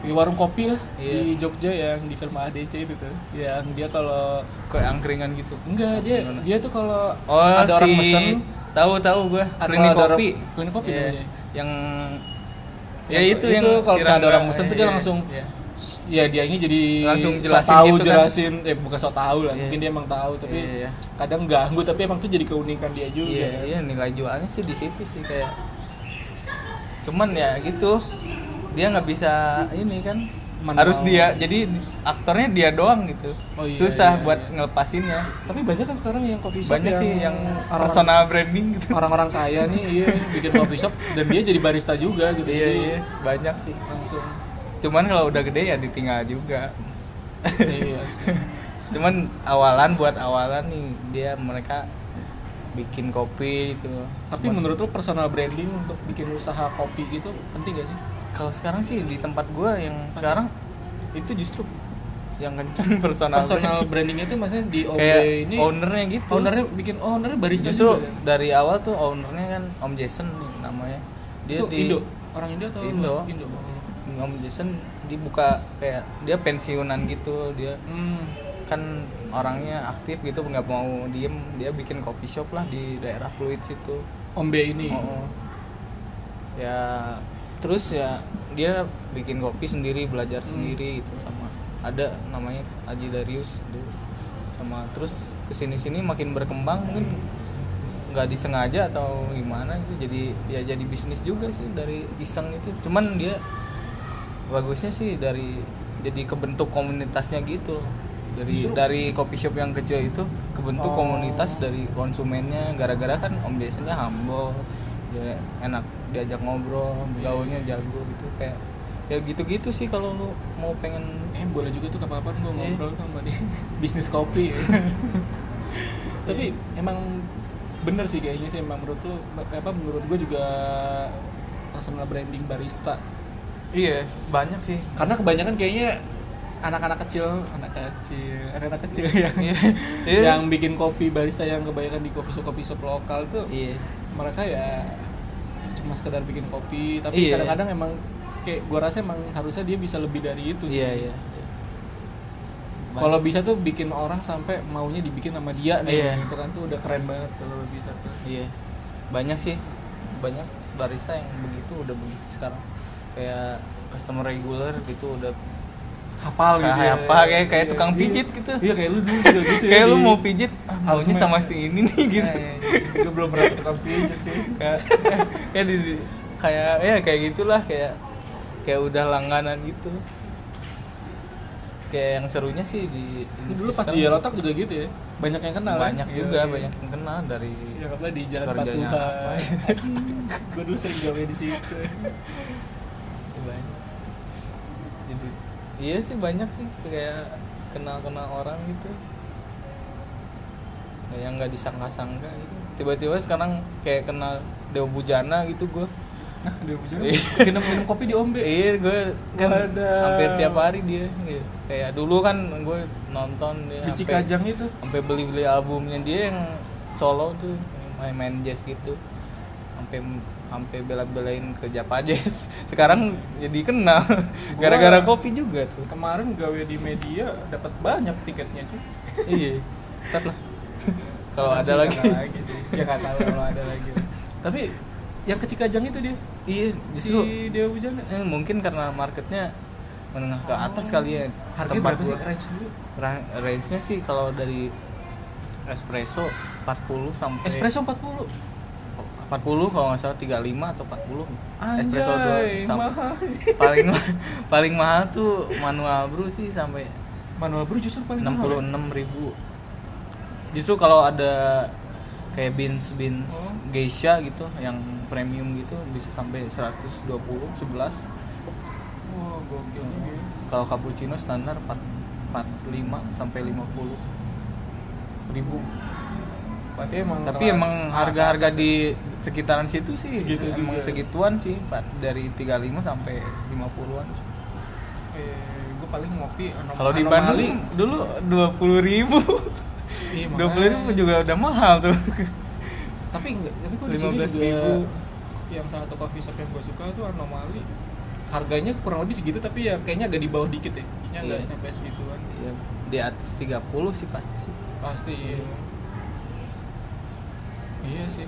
Speaker 1: di warung kopi lah
Speaker 2: Iya.
Speaker 1: di Jogja yang di film ADC itu tuh yang dia kalau
Speaker 2: kayak angkringan gitu
Speaker 1: enggak dia
Speaker 2: Gimana?
Speaker 1: dia tuh kalau
Speaker 2: Oh,
Speaker 1: ada orang
Speaker 2: si-
Speaker 1: mesen
Speaker 2: Tahu tahu gua.
Speaker 1: Ada-
Speaker 2: Klinik
Speaker 1: ada orang-
Speaker 2: kopi.
Speaker 1: klinik kopi
Speaker 2: Iya,
Speaker 1: namanya.
Speaker 2: Yang ya
Speaker 1: Yang-
Speaker 2: itu, yang
Speaker 1: kalau
Speaker 2: si
Speaker 1: misalnya ada
Speaker 2: Rangga.
Speaker 1: orang mesen tuh dia
Speaker 2: Iya,
Speaker 1: langsung
Speaker 2: iya.
Speaker 1: ya dia ini jadi
Speaker 2: Langsung
Speaker 1: sok
Speaker 2: jelasin
Speaker 1: tahu
Speaker 2: gitu kan.
Speaker 1: jelasin eh bukan sok tahu lah
Speaker 2: Iya.
Speaker 1: mungkin dia emang tahu tapi
Speaker 2: Iya, iya.
Speaker 1: kadang ganggu tapi emang tuh jadi keunikan dia juga
Speaker 2: Iya,
Speaker 1: kan.
Speaker 2: iya nilai jualnya sih di situ sih kayak cuman ya gitu dia nggak bisa ini kan
Speaker 1: Manual.
Speaker 2: harus dia jadi aktornya dia doang gitu
Speaker 1: Oh, iya,
Speaker 2: susah
Speaker 1: iya,
Speaker 2: buat
Speaker 1: iya.
Speaker 2: ngelepasinnya
Speaker 1: tapi banyak kan sekarang yang Ah, coffee shop
Speaker 2: banyak sih yang
Speaker 1: orang-
Speaker 2: personal branding gitu
Speaker 1: orang-orang kaya nih iya bikin coffee shop dan dia jadi barista juga gitu
Speaker 2: iya
Speaker 1: Jadi
Speaker 2: iya banyak sih
Speaker 1: langsung
Speaker 2: cuman kalau udah gede ya ditinggal juga
Speaker 1: iya
Speaker 2: cuman awalan buat awalan nih dia mereka bikin kopi itu
Speaker 1: tapi menurut lo personal branding untuk bikin usaha kopi gitu penting gak sih
Speaker 2: kalau sekarang sih di tempat gua yang sekarang itu justru yang kencang personal,
Speaker 1: personal
Speaker 2: brand.
Speaker 1: branding itu maksudnya di OB
Speaker 2: kayak
Speaker 1: ini
Speaker 2: ownernya gitu
Speaker 1: ownernya bikin oh, ownernya barista
Speaker 2: justru
Speaker 1: juga ya?
Speaker 2: dari awal tuh ownernya kan Om Jason nih namanya dia
Speaker 1: Itu
Speaker 2: di
Speaker 1: Indo orang Indo atau
Speaker 2: Indo.
Speaker 1: Indo Hmm.
Speaker 2: Om Jason dibuka kayak dia pensiunan gitu dia
Speaker 1: hmm.
Speaker 2: kan orangnya aktif gitu nggak mau diem dia bikin kopi shop lah di daerah Pluit situ
Speaker 1: Ombe ini
Speaker 2: Oh, oh. ya terus ya dia bikin kopi sendiri belajar sendiri gitu sama ada namanya Aji Darius dulu. sama terus kesini sini makin berkembang mungkin nggak disengaja atau gimana itu jadi ya jadi bisnis juga sih dari iseng itu cuman dia bagusnya sih dari jadi kebentuk komunitasnya gitu loh. dari
Speaker 1: Justru-
Speaker 2: dari kopi shop yang kecil itu kebentuk
Speaker 1: Oh.
Speaker 2: komunitas dari konsumennya gara-gara kan om biasanya humble dia enak diajak ngobrol
Speaker 1: Iya.
Speaker 2: gaulnya jago gitu kayak ya gitu-gitu sih kalau lu mau pengen
Speaker 1: eh boleh juga tuh kapan-kapan gue
Speaker 2: Iya.
Speaker 1: ngobrol tuh sama dia bisnis kopi ya. tapi emang bener sih kayaknya sih emang menurut lu apa menurut gue juga personal branding barista
Speaker 2: iya banyak sih
Speaker 1: karena kebanyakan kayaknya anak-anak kecil anak kecil anak-anak kecil yang
Speaker 2: Iya.
Speaker 1: yang bikin kopi barista yang kebanyakan di kopi shop kopi shop lokal tuh
Speaker 2: iya
Speaker 1: mereka ya cuma sekedar bikin kopi tapi
Speaker 2: Iya.
Speaker 1: kadang-kadang emang kayak gua rasa emang harusnya dia bisa lebih dari itu sih
Speaker 2: iya iya
Speaker 1: kalau bisa tuh bikin orang sampai maunya dibikin sama dia nih
Speaker 2: Iya.
Speaker 1: gitu kan tuh udah keren banget tuh kalau bisa tuh
Speaker 2: Iya, banyak sih, banyak barista yang begitu udah begitu sekarang. Kayak customer regular gitu udah
Speaker 1: hafal gitu
Speaker 2: Kayak
Speaker 1: ya.
Speaker 2: apa, kayak- kayak
Speaker 1: Iya,
Speaker 2: tukang
Speaker 1: iya.
Speaker 2: pijit gitu.
Speaker 1: iya kayak lu dulu juga gitu ya,
Speaker 2: kayak lu
Speaker 1: di-
Speaker 2: mau pijit, ah,
Speaker 1: Harus
Speaker 2: maunya sama
Speaker 1: main.
Speaker 2: si ini nih gitu.
Speaker 1: Iya, iya, iya. Gua belum pernah ke tukang pijit sih
Speaker 2: kayak kayak di- kayak ya kayak gitulah kayak kayak udah langganan gitu. Kayak yang serunya sih di, di
Speaker 1: dulu pas
Speaker 2: sistem
Speaker 1: di Yelotak juga gitu ya banyak yang kenal kan?
Speaker 2: banyak
Speaker 1: Iya,
Speaker 2: juga
Speaker 1: iya.
Speaker 2: banyak yang kenal dari
Speaker 1: Ya apa di Jalan
Speaker 2: Kerjanya
Speaker 1: Patuha.
Speaker 2: apa ya?
Speaker 1: Gue dulu sering gawe di situ.
Speaker 2: Iya, banyak jadi iya sih banyak sih kayak kenal kenal orang gitu Kayak yang nggak disangka-sangka gitu tiba-tiba sekarang kayak kenal Dewa Bujana gitu gue
Speaker 1: Nah, dia bujang.
Speaker 2: Iya.
Speaker 1: Minum minum kopi di ombe.
Speaker 2: Iya, gue kan
Speaker 1: Waduh.
Speaker 2: hampir tiap hari dia. Iya. Kayak dulu kan gue nonton dia
Speaker 1: Di
Speaker 2: sampai-
Speaker 1: Cikajang itu.
Speaker 2: sampai beli-beli albumnya dia yang solo tuh main-main jazz gitu. Sampai sampai bela-belain ke Japa Jazz. Sekarang jadi kenal gara-gara kopi juga tuh.
Speaker 1: Kemarin gawe di media dapat banyak tiketnya cuy.
Speaker 2: iya. Ntar lah. Kalau
Speaker 1: Nggak
Speaker 2: ada
Speaker 1: sih,
Speaker 2: lagi.
Speaker 1: nggak lagi sih. Ya nggak tahu kalau ada lagi. Tapi yang ke Cikajang itu dia.
Speaker 2: Iya,
Speaker 1: Si
Speaker 2: justru
Speaker 1: Dewa Bujana.
Speaker 2: eh, mungkin karena marketnya menengah ke atas kali ya.
Speaker 1: Harganya
Speaker 2: tempat
Speaker 1: berapa sih
Speaker 2: gua.
Speaker 1: range dulu?
Speaker 2: Ra- range-nya sih kalau dari espresso 40 sampai
Speaker 1: Espresso 40.
Speaker 2: 40 kalau nggak salah 35 atau 40. espresso dua
Speaker 1: Anjay,
Speaker 2: sampai
Speaker 1: mahal.
Speaker 2: paling paling mahal tuh manual brew sih sampai
Speaker 1: Manual brew justru paling mahal. ya?
Speaker 2: 66.000. Justru kalau ada kayak beans beans
Speaker 1: Oh.
Speaker 2: geisha gitu yang premium gitu bisa sampai 120 11.
Speaker 1: Wah, gokil juga ya.
Speaker 2: Kalau cappuccino standar 4 45 sampai 50 ribu
Speaker 1: Berarti emang
Speaker 2: tapi
Speaker 1: kelas
Speaker 2: emang
Speaker 1: atas
Speaker 2: harga-harga
Speaker 1: ya.
Speaker 2: di sekitaran situ sih
Speaker 1: Segitu
Speaker 2: emang
Speaker 1: juga. ya?
Speaker 2: segituan sih Pak dari 35 sampai 50-an
Speaker 1: eh, gue paling ngopi anom-
Speaker 2: kalau di
Speaker 1: anomali.
Speaker 2: Bandung dulu 20 ribu
Speaker 1: Iya,
Speaker 2: 20
Speaker 1: makanya. Iya.
Speaker 2: ribu juga udah mahal tuh
Speaker 1: tapi enggak tapi kok di sini
Speaker 2: 15.000.
Speaker 1: juga yang salah satu coffee shop yang gue suka itu anomali harganya kurang lebih segitu tapi ya kayaknya agak di bawah dikit ya kayaknya nggak
Speaker 2: Iya.
Speaker 1: sampai segituan
Speaker 2: Ya, di atas 30 sih pasti sih
Speaker 1: pasti iya. iya sih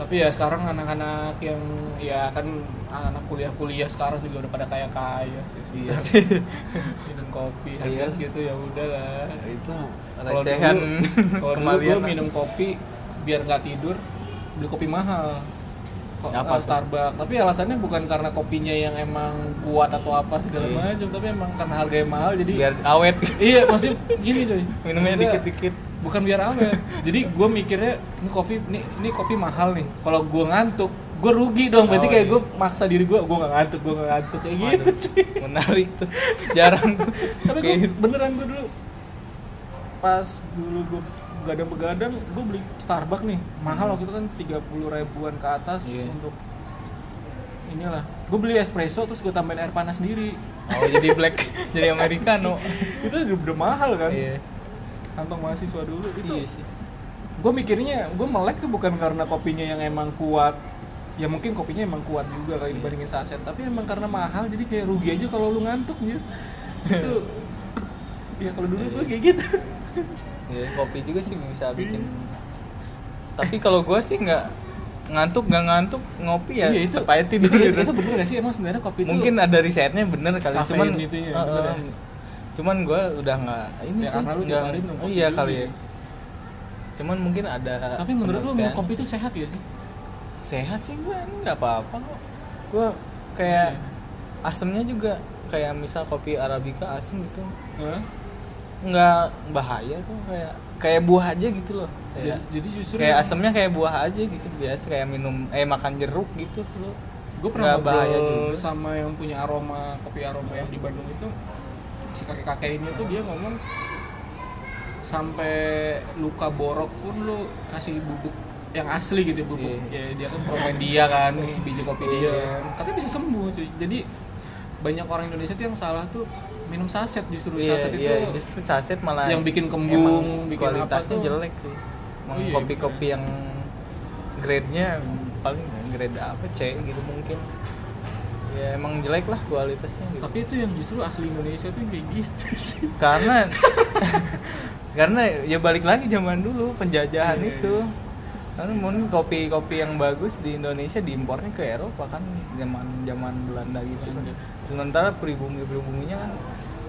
Speaker 1: tapi ya sekarang anak-anak yang ya kan anak kuliah-kuliah sekarang juga udah pada kaya kaya sih
Speaker 2: iya
Speaker 1: sebenarnya. minum kopi harga
Speaker 2: Iya.
Speaker 1: segitu ya udahlah
Speaker 2: Eh, itu
Speaker 1: kalau
Speaker 2: recehan
Speaker 1: dulu kalau dulu gua
Speaker 2: kemalian
Speaker 1: minum kopi biar nggak tidur beli kopi mahal kok eh,
Speaker 2: Apa tuh?
Speaker 1: Starbucks tapi alasannya bukan karena kopinya yang emang kuat atau apa segala
Speaker 2: Iya.
Speaker 1: macam tapi emang karena harganya mahal jadi
Speaker 2: biar awet
Speaker 1: iya maksudnya gini coy
Speaker 2: minumnya
Speaker 1: Maksudnya,
Speaker 2: dikit-dikit
Speaker 1: bukan biar awet jadi gue mikirnya ini kopi ini, ini kopi mahal nih kalau gue ngantuk gue rugi dong berarti
Speaker 2: Oh,
Speaker 1: kayak
Speaker 2: iya.
Speaker 1: gue maksa diri gue gue nggak ngantuk gue nggak ngantuk kayak gitu
Speaker 2: Waduh,
Speaker 1: cuy
Speaker 2: menarik tuh jarang tuh
Speaker 1: tapi gue
Speaker 2: Kayak- gitu.
Speaker 1: beneran gue dulu pas dulu gue begadang-begadang gue beli Starbucks nih mahal waktu itu kan 30 ribuan ke atas
Speaker 2: Hmm. Iya.
Speaker 1: untuk inilah gue beli espresso terus gue tambahin air panas sendiri
Speaker 2: Oh jadi black, jadi americano.
Speaker 1: itu udah, udah mahal kan
Speaker 2: Kan, oh. Iya.
Speaker 1: kantong mahasiswa dulu itu
Speaker 2: Iya sih.
Speaker 1: gue mikirnya gue melek tuh bukan karena kopinya yang emang kuat ya mungkin kopinya emang kuat juga kali dibandingin saset tapi emang karena mahal jadi kayak rugi aja kalau lu ngantuk gitu itu ya kalau dulu gue kayak gitu
Speaker 2: Iya, kopi juga sih bisa bikin.
Speaker 1: Hmm.
Speaker 2: Tapi kalau gua sih nggak ngantuk nggak ngantuk ngopi ya
Speaker 1: Iya,
Speaker 2: itu payah tidur
Speaker 1: itu,
Speaker 2: gitu.
Speaker 1: itu bener gak sih emang sebenarnya kopi itu
Speaker 2: Mungkin ada risetnya bener kali,
Speaker 1: Kafein
Speaker 2: cuman
Speaker 1: itu ya,
Speaker 2: Eh,
Speaker 1: bener ya.
Speaker 2: eh, cuman gua udah nggak ini
Speaker 1: Ya,
Speaker 2: sih.
Speaker 1: karena lu tiap
Speaker 2: nggak-
Speaker 1: hari minum kopi
Speaker 2: iya
Speaker 1: juga.
Speaker 2: kali ya. Cuman mungkin ada.
Speaker 1: tapi menurut lu minum
Speaker 2: penelitian.
Speaker 1: kopi itu sehat ya sih
Speaker 2: sehat sih gue nggak apa-apa kok gue kayak
Speaker 1: Iya.
Speaker 2: asemnya juga kayak misal kopi arabica asem gitu nggak bahaya kok kayak kayak buah aja gitu loh
Speaker 1: jadi,
Speaker 2: kayak,
Speaker 1: jadi justru
Speaker 2: kayak asemnya kayak buah aja gitu biasa kayak minum eh makan jeruk gitu lo
Speaker 1: gue pernah
Speaker 2: nggak bahaya
Speaker 1: ngobrol
Speaker 2: juga.
Speaker 1: sama yang punya aroma kopi aroma yang di Bandung itu si kakek kakek ini tuh dia ngomong sampai luka borok pun lu kasih bubuk yang asli gitu bubuk ya
Speaker 2: Iya.
Speaker 1: dia kan pemain dia kan biji kopi dia kan katanya bisa sembuh cuy jadi banyak orang Indonesia tuh yang salah tuh minum saset justru
Speaker 2: iya
Speaker 1: saset
Speaker 2: iya
Speaker 1: itu
Speaker 2: justru saset malah
Speaker 1: yang bikin kembung,
Speaker 2: emang
Speaker 1: bikin
Speaker 2: kualitasnya
Speaker 1: apa tuh.
Speaker 2: jelek sih emang
Speaker 1: Oh iya,
Speaker 2: kopi-kopi yang grade-nya paling grade apa C gitu mungkin ya emang jelek lah kualitasnya gitu.
Speaker 1: tapi itu yang justru asli Indonesia tuh yang kayak gitu sih
Speaker 2: karena karena ya balik lagi zaman dulu penjajahan
Speaker 1: Iya, iya,
Speaker 2: itu karena mungkin kopi-kopi yang bagus di Indonesia diimpornya ke Eropa kan zaman zaman Belanda gitu kan sementara pribumi pribumi kan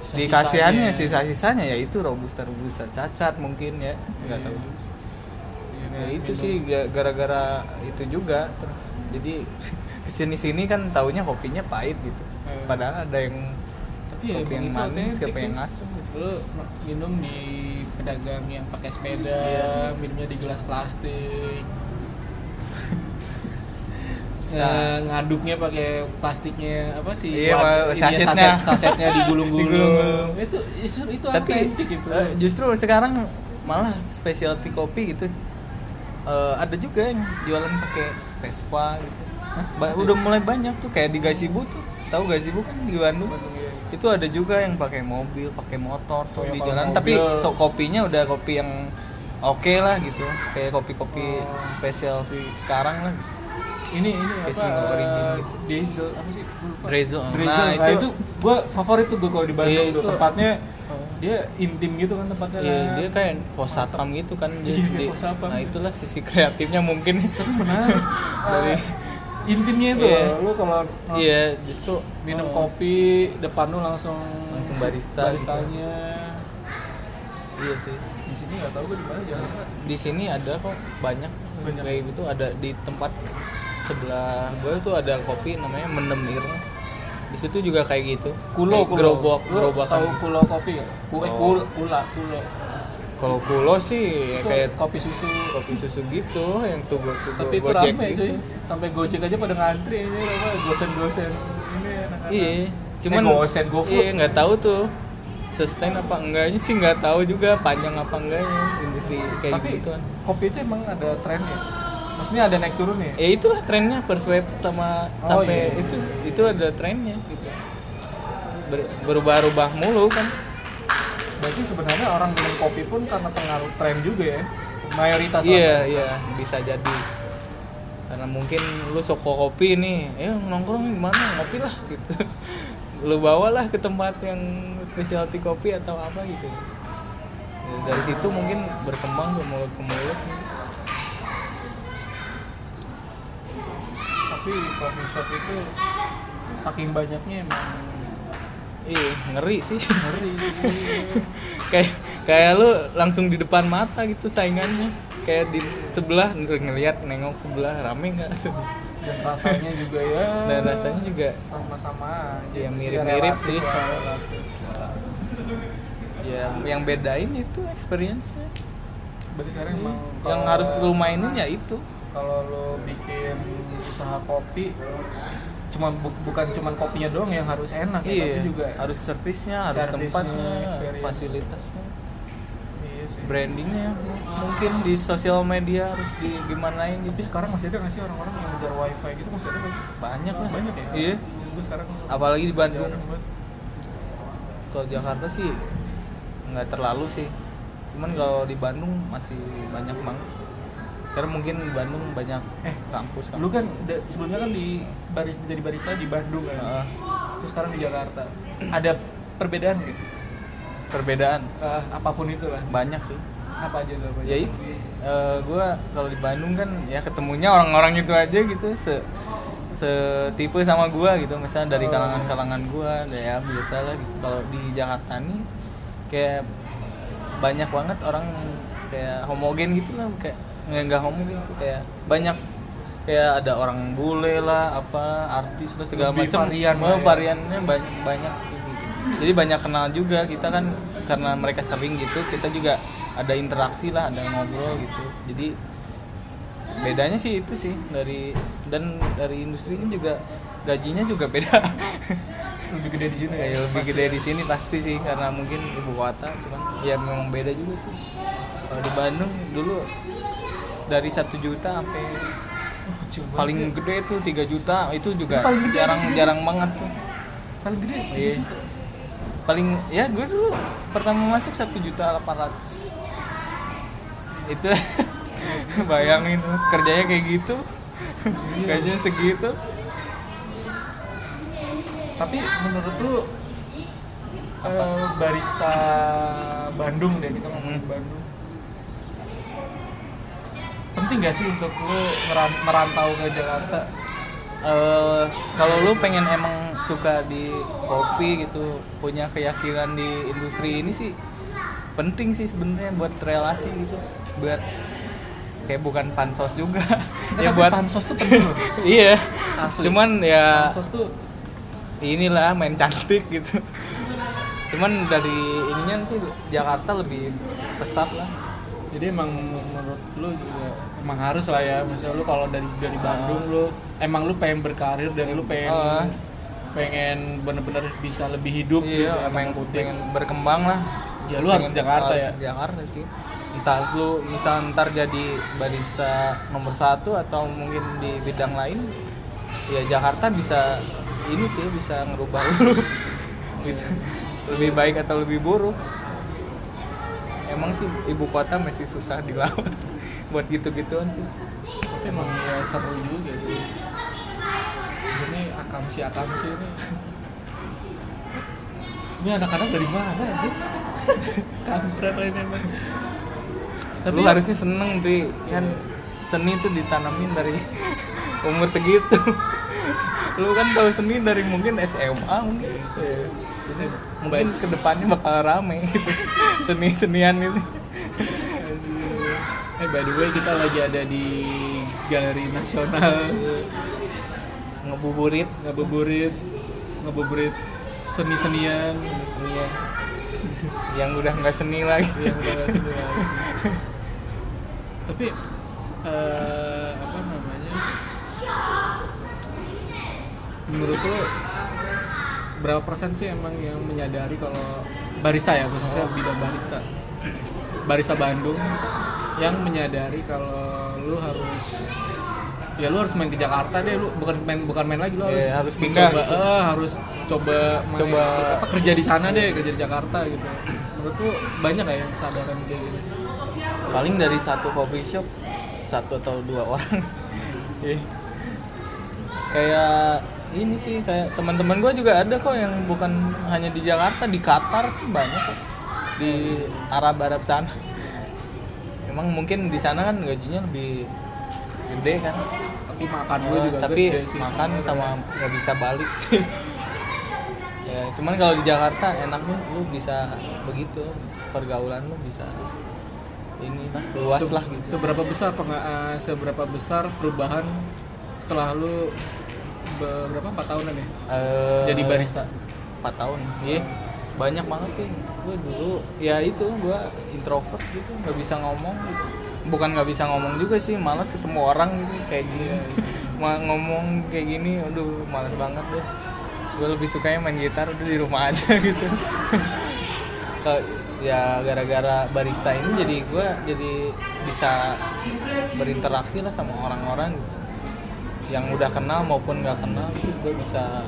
Speaker 1: Iya. Sisa-sisanya.
Speaker 2: di kasihannya sisa-sisanya ya itu robusta robusta cacat mungkin ya nggak
Speaker 1: Iya.
Speaker 2: tahu juga sih.
Speaker 1: Iya,
Speaker 2: ya,
Speaker 1: kan,
Speaker 2: itu
Speaker 1: minum.
Speaker 2: sih ga- gara-gara itu juga Ter- jadi kesini-sini kan taunya kopinya pahit gitu
Speaker 1: Iya.
Speaker 2: padahal ada yang
Speaker 1: tapi ya
Speaker 2: kopi yang
Speaker 1: emang itu
Speaker 2: manis
Speaker 1: otentik
Speaker 2: kopi yang
Speaker 1: sih.
Speaker 2: asam gitu
Speaker 1: lu minum di pedagang yang pakai sepeda
Speaker 2: Iya.
Speaker 1: minumnya di gelas plastik Nah, ngaduknya pakai plastiknya apa sih
Speaker 2: Iya,
Speaker 1: wad- ininya,
Speaker 2: Pak, sasetnya.
Speaker 1: saset, sasetnya digulung-gulung
Speaker 2: Digulung-gulung.
Speaker 1: itu itu itu
Speaker 2: tapi
Speaker 1: otentik itu
Speaker 2: eh, justru sekarang malah specialty kopi gitu eh, ada juga yang jualan pakai Vespa gitu. Ba- udah mulai banyak tuh kayak di Gasibu tuh. Tahu Gasibu kan di Bandung. Itu ada juga yang pakai mobil, pakai motor tuh
Speaker 1: Iya,
Speaker 2: di
Speaker 1: kalau
Speaker 2: jalan.
Speaker 1: mobil-
Speaker 2: Tapi so kopinya udah kopi yang oke lah gitu. Kayak
Speaker 1: Oh.
Speaker 2: kopi-kopi spesial sih sekarang lah. Gitu.
Speaker 1: ini ini apa
Speaker 2: Casing origin
Speaker 1: eh,
Speaker 2: gitu.
Speaker 1: diesel apa sih Gua lupa.
Speaker 2: Drizzle.
Speaker 1: Drizzle.
Speaker 2: Nah,
Speaker 1: nah
Speaker 2: itu-
Speaker 1: itu, gua favorit tuh gua kalau di Bandung
Speaker 2: Iya,
Speaker 1: tuh
Speaker 2: itu- Oh.
Speaker 1: tempatnya dia intim gitu kan tempatnya
Speaker 2: Iya,
Speaker 1: kan.
Speaker 2: dia kayak pos satpam gitu kan. Dia,
Speaker 1: Iya,
Speaker 2: dia-
Speaker 1: pos satpam.
Speaker 2: nah itulah sisi kreatifnya mungkin.
Speaker 1: tapi menarik Eh,
Speaker 2: Dari
Speaker 1: intimnya itu
Speaker 2: Iya.
Speaker 1: loh, lu kalau
Speaker 2: iya justru
Speaker 1: minum
Speaker 2: oh.
Speaker 1: kopi depan lu langsung
Speaker 2: Langsung barista gitu.
Speaker 1: baristanya
Speaker 2: Iya sih.
Speaker 1: di sini nggak tahu gue di mana jalan
Speaker 2: Di sini ada kok banyak,
Speaker 1: Banyak.
Speaker 2: kayak gitu ada di tempat sebelah gue tuh ada kopi namanya Menemir. Di situ juga kayak gitu.
Speaker 1: Eh, kulo
Speaker 2: Kayak gerobak
Speaker 1: Lu
Speaker 2: gerobakan.
Speaker 1: tahu kulo kopi ya Ku- eh,
Speaker 2: Oh.
Speaker 1: kul- kula kulo
Speaker 2: Kalau kulo sih ya
Speaker 1: itu
Speaker 2: kayak
Speaker 1: kopi susu
Speaker 2: kopi gitu. susu gitu yang tubuh-tubuh
Speaker 1: tapi itu rame cuy sampai gojek aja pada ngantri ini apa gosen-gosen ini anak-anak
Speaker 2: Iya, cuman
Speaker 1: Gosen, GoFood.
Speaker 2: Iya, nggak tahu tuh sustain apa enggaknya sih nggak tahu juga panjang apa enggaknya industri kayak
Speaker 1: tapi
Speaker 2: gitu kan.
Speaker 1: kopi itu emang ada trennya maksudnya ada naik turun ya
Speaker 2: Ya itulah trennya first wave sama
Speaker 1: Oh, iya.
Speaker 2: sampai itu itu ada trennya gitu. Ber- berubah-ubah mulu kan.
Speaker 1: berarti sebenarnya orang minum kopi pun karena pengaruh tren juga ya mayoritas
Speaker 2: Iya, iya, bisa jadi. Karena mungkin lu soko kopi nih, eh nongkrong di mana ngopi lah gitu. Lu bawalah ke tempat yang specialty kopi atau apa gitu. Ya, Dari situ mungkin berkembang ke mulut ke mulut.
Speaker 1: tapi coffee shop itu saking banyaknya emang
Speaker 2: Iya, ngeri sih.
Speaker 1: ngeri
Speaker 2: kayak kayak lu langsung di depan mata gitu saingannya. Kayak di sebelah ngelihat nengok sebelah rame nggak?
Speaker 1: dan rasanya juga ya
Speaker 2: Dan rasanya juga
Speaker 1: sama-sama aja.
Speaker 2: Ya,
Speaker 1: Maksudnya
Speaker 2: mirip-mirip
Speaker 1: relatif
Speaker 2: sih.
Speaker 1: lah, relatif.
Speaker 2: ya yang bedain itu experience-nya.
Speaker 1: berarti sekarang emang
Speaker 2: yang
Speaker 1: kalau-
Speaker 2: harus lu mainin ya itu
Speaker 1: kalau lo bikin usaha kopi cuma bu- bukan cuman kopinya doang yang harus enak ya, tapi juga
Speaker 2: Iya. harus servisnya harus
Speaker 1: Servisnya,
Speaker 2: tempatnya
Speaker 1: experience.
Speaker 2: fasilitasnya
Speaker 1: iya sih.
Speaker 2: brandingnya m- mungkin di sosial media harus di gimanain
Speaker 1: tapi
Speaker 2: gitu
Speaker 1: sekarang masih ada nggak sih orang-orang yang ngejar wifi gitu masih ada nggak?
Speaker 2: banyak lah
Speaker 1: banyak ya
Speaker 2: iya
Speaker 1: gue sekarang
Speaker 2: apalagi di Bandung
Speaker 1: jarang banget.
Speaker 2: kalau Jakarta sih nggak terlalu sih cuman kalau di Bandung masih banyak banget karena mungkin di Bandung banyak
Speaker 1: Eh,
Speaker 2: kampus kampus
Speaker 1: lu kan da- sebelumnya kan di baris jadi barista di Bandung kan
Speaker 2: Heeh.
Speaker 1: terus sekarang di Jakarta ada perbedaan nggak?
Speaker 2: perbedaan
Speaker 1: Eh, apapun itu lah
Speaker 2: banyak sih
Speaker 1: apa aja tuh apa aja?
Speaker 2: ya itu gue kalau di Bandung kan ya ketemunya orang-orang itu aja gitu se setipe sama gua gitu
Speaker 1: Oh.
Speaker 2: misalnya dari kalangan-kalangan gua ya biasa lah gitu kalau di Jakarta nih kayak banyak banget orang kayak homogen gitu lah kayak nggak nggak homogen sih kayak banyak kayak ada orang bule lah apa artis lah segala Oh,
Speaker 1: Lebih
Speaker 2: macam
Speaker 1: varian lah
Speaker 2: Mau
Speaker 1: ya.
Speaker 2: variannya banyak banyak gitu. jadi banyak kenal juga kita kan karena mereka sering gitu kita juga ada interaksi lah ada ngobrol gitu jadi bedanya sih itu sih dari dan dari industrinya juga gajinya juga beda
Speaker 1: lebih gede di sini
Speaker 2: kayak Ya, lebih gede di sini pasti sih karena mungkin ibu kota cuman ya memang beda juga sih kalau di Bandung dulu dari satu juta sampai
Speaker 1: Oh, kecil banget
Speaker 2: paling
Speaker 1: ya.
Speaker 2: gede tuh 3 juta itu juga
Speaker 1: Paling gede
Speaker 2: jarang
Speaker 1: apa sih?
Speaker 2: jarang banget tuh
Speaker 1: paling Kan gede tiga
Speaker 2: Iya.
Speaker 1: juta
Speaker 2: paling ya gue dulu pertama masuk satu juta delapan itu bayangin kerjanya kayak gitu gajinya segitu
Speaker 1: tapi menurut lu apa barista Bandung deh kita ngomongin
Speaker 2: Hmm.
Speaker 1: Bandung penting gak sih untuk lu meran- merantau ke Jakarta
Speaker 2: Eh, kalau lu pengen emang suka di kopi gitu punya keyakinan di industri ini sih penting sih sebenarnya buat relasi gitu buat kayak bukan pansos juga
Speaker 1: Nggak,
Speaker 2: ya
Speaker 1: Eh, tapi
Speaker 2: buat
Speaker 1: pansos tuh penting loh
Speaker 2: iya
Speaker 1: Asli.
Speaker 2: cuman ya
Speaker 1: pansos tuh
Speaker 2: inilah main cantik gitu cuman dari ininya sih Jakarta lebih pesat lah
Speaker 1: jadi emang menurut lu juga emang harus lah ya misalnya lu kalau dari dari Bandung lu emang lu pengen berkarir dan lu pengen
Speaker 2: Ah.
Speaker 1: pengen bener-bener bisa lebih hidup
Speaker 2: iya
Speaker 1: gitu,
Speaker 2: emang
Speaker 1: putih
Speaker 2: pengen berkembang lah
Speaker 1: ya lu harus ke
Speaker 2: Pengen-
Speaker 1: Jakarta
Speaker 2: harus
Speaker 1: ya
Speaker 2: ke Jakarta sih entah lu misal ntar jadi barista nomor satu atau mungkin di bidang lain ya Jakarta bisa ini sih bisa ngerubah lu bisa lebih baik atau lebih buruk emang sih ibu kota masih susah dilawat buat gitu-gituan sih
Speaker 1: tapi emang ya seru juga sih ini akam si akam si ini ini anak-anak dari mana sih kampret ini emang tapi ya-
Speaker 2: lu harusnya seneng Dri kan seni itu ditanamin dari umur segitu lu kan tahu seni dari mungkin SMA mungkin Jadi, mungkin kedepannya bakal rame gitu seni senian ini
Speaker 1: eh by the way kita lagi ada di galeri nasional
Speaker 2: ngebuburit
Speaker 1: ngebuburit ngebuburit seni-senian
Speaker 2: senian yang udah nggak seni lagi
Speaker 1: yang Iya, udah nggak seni lagi. tapi eh, apa namanya menurut lo berapa persen sih emang yang menyadari kalau barista ya khususnya bidang barista barista Bandung yang menyadari kalau lu harus ya lu harus main ke Jakarta deh lu bukan main bukan main lagi lu harus
Speaker 2: Iya, harus pindah
Speaker 1: coba,
Speaker 2: gitu.
Speaker 1: eh, harus coba main-
Speaker 2: Coba-
Speaker 1: apa, kerja di sana deh kerja di Jakarta gitu menurut lu banyak gak yang kesadaran kayak gitu
Speaker 2: paling dari satu coffee shop satu atau dua orang Iya. kayak ini sih kayak teman-teman gue juga ada kok yang bukan hanya di Jakarta di Qatar kan banyak kok di Arab Arab sana emang mungkin di sana kan gajinya lebih gede kan
Speaker 1: tapi makan lu
Speaker 2: Eh,
Speaker 1: juga
Speaker 2: tapi
Speaker 1: gede sih
Speaker 2: makan
Speaker 1: sebenarnya.
Speaker 2: sama nggak bisa balik sih ya cuman kalau di Jakarta enaknya lu bisa begitu pergaulan lu bisa ini lah luas
Speaker 1: Se-
Speaker 2: lah gitu
Speaker 1: Seberapa besar penga- eh, seberapa besar perubahan setelah lu be- berapa empat tahunan ya?
Speaker 2: Eh,
Speaker 1: Jadi barista.
Speaker 2: 4 tahun iya banyak banget sih gue dulu ya itu gue introvert gitu nggak bisa ngomong gitu bukan nggak bisa ngomong juga sih malas ketemu orang gitu kayak
Speaker 1: Iya,
Speaker 2: gini Ma- ngomong kayak gini aduh malas banget deh gue lebih sukanya main gitar udah di rumah aja gitu Ke- ya gara-gara barista ini jadi gue jadi bisa berinteraksi lah sama orang-orang gitu yang udah kenal maupun nggak kenal itu gue bisa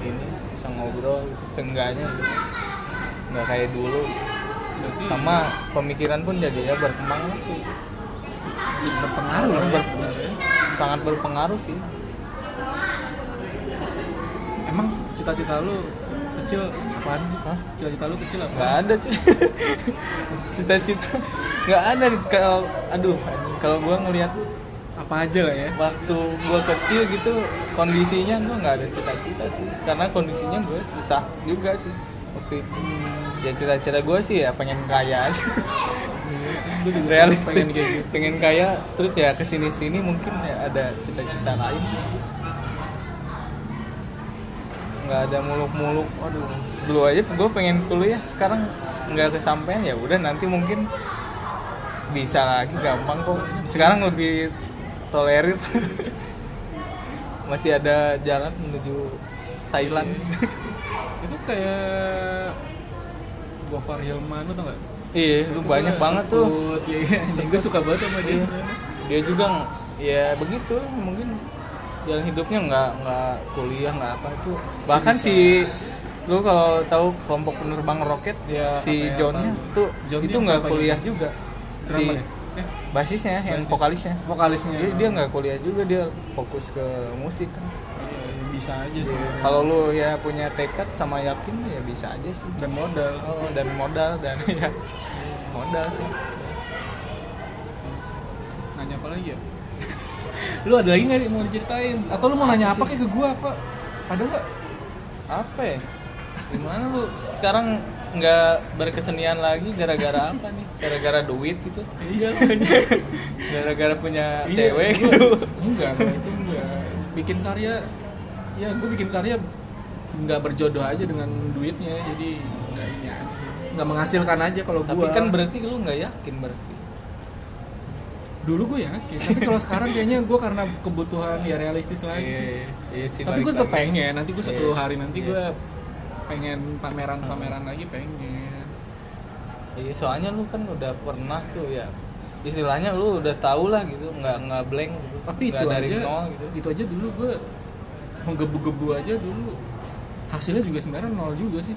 Speaker 2: ini bisa ngobrol gitu, seenggaknya gitu nggak kayak dulu
Speaker 1: Berarti
Speaker 2: sama pemikiran pun jadi ya berkembang lah tuh.
Speaker 1: berpengaruh lah ya
Speaker 2: Ber-
Speaker 1: sebenarnya.
Speaker 2: sangat berpengaruh sih
Speaker 1: Emang cita-cita lu kecil apaan sih? Hah? Cita-cita lu kecil apa?
Speaker 2: nggak ada cuy cita-cita nggak ada kalau aduh anjing, kalau gue ngelihat
Speaker 1: Apa aja lah ya?
Speaker 2: waktu gue kecil gitu kondisinya gue nggak ada cita-cita sih karena kondisinya gue susah juga sih waktu itu
Speaker 1: Hmm,
Speaker 2: ya cita-cita gue sih ya pengen kaya aja
Speaker 1: Iya sih, gua juga
Speaker 2: realistis
Speaker 1: pengen
Speaker 2: pengen,
Speaker 1: kayak gitu.
Speaker 2: kaya terus ya kesini sini mungkin ya ada cita-cita lain nggak ada muluk-muluk aduh dulu aja gue pengen kuliah sekarang nggak kesampaian ya udah nanti mungkin bisa lagi gampang kok sekarang lebih tolerir masih ada jalan menuju Thailand
Speaker 1: Itu kayak Gofar Hilman lu tau gak?
Speaker 2: iya lu banyak banget tuh
Speaker 1: iya, gue suka banget sama dia
Speaker 2: Iya.
Speaker 1: sebenarnya.
Speaker 2: dia juga ng- ya begitu mungkin jalan hidupnya nggak nggak kuliah nggak apa itu bahkan si lu kalau tahu kelompok penerbang roket
Speaker 1: Ya, apa
Speaker 2: si
Speaker 1: ya,
Speaker 2: Johnnya
Speaker 1: apa?
Speaker 2: tuh
Speaker 1: Johnnya
Speaker 2: itu nggak
Speaker 1: siapa ya?
Speaker 2: kuliah juga si
Speaker 1: Drummer ya? Eh,
Speaker 2: basisnya yang
Speaker 1: Basis.
Speaker 2: vokalisnya
Speaker 1: vokalisnya.
Speaker 2: dia dia nggak kuliah juga dia fokus ke musik kan
Speaker 1: Iya, bisa aja sih
Speaker 2: Iya, kalau lu ya punya tekad sama yakin ya bisa aja sih
Speaker 1: dan modal
Speaker 2: oh, dan modal dan ya modal sih
Speaker 1: nanya apa lagi ya lu ada lagi nggak yang mau diceritain atau lu mau nanya apa kayak ke gua apa ada nggak
Speaker 2: apa ya? Gimana lu sekarang nggak berkesenian lagi gara-gara apa nih? Gara-gara duit gitu?
Speaker 1: iya nanya
Speaker 2: Gara-gara punya
Speaker 1: Iya,
Speaker 2: cewek
Speaker 1: gua-
Speaker 2: gitu?
Speaker 1: enggak gua itu enggak bikin karya ya gua bikin karya nggak berjodoh aja dengan duitnya jadi nggak ini aja. nggak menghasilkan aja kalau gua
Speaker 2: Tapi kan berarti lu nggak yakin berarti.
Speaker 1: dulu gue yakin tapi kalau sekarang kayaknya gua karena kebutuhan ya realistis lagi
Speaker 2: Iya,
Speaker 1: sih
Speaker 2: iya, iya sih,
Speaker 1: tapi
Speaker 2: balik
Speaker 1: gue
Speaker 2: lagi.
Speaker 1: kepengen nanti gue satu
Speaker 2: Iya.
Speaker 1: hari nanti
Speaker 2: Iya
Speaker 1: gue
Speaker 2: sih.
Speaker 1: pengen pameran pameran lagi pengen
Speaker 2: Ya Iya, soalnya lu kan udah pernah tuh ya. Istilahnya lu udah tau lah gitu, nggak nggak blank gitu.
Speaker 1: tapi itu
Speaker 2: nggak dari
Speaker 1: aja
Speaker 2: nol gitu.
Speaker 1: itu aja dulu gue menggebu-gebu aja dulu hasilnya juga sebenarnya nol juga sih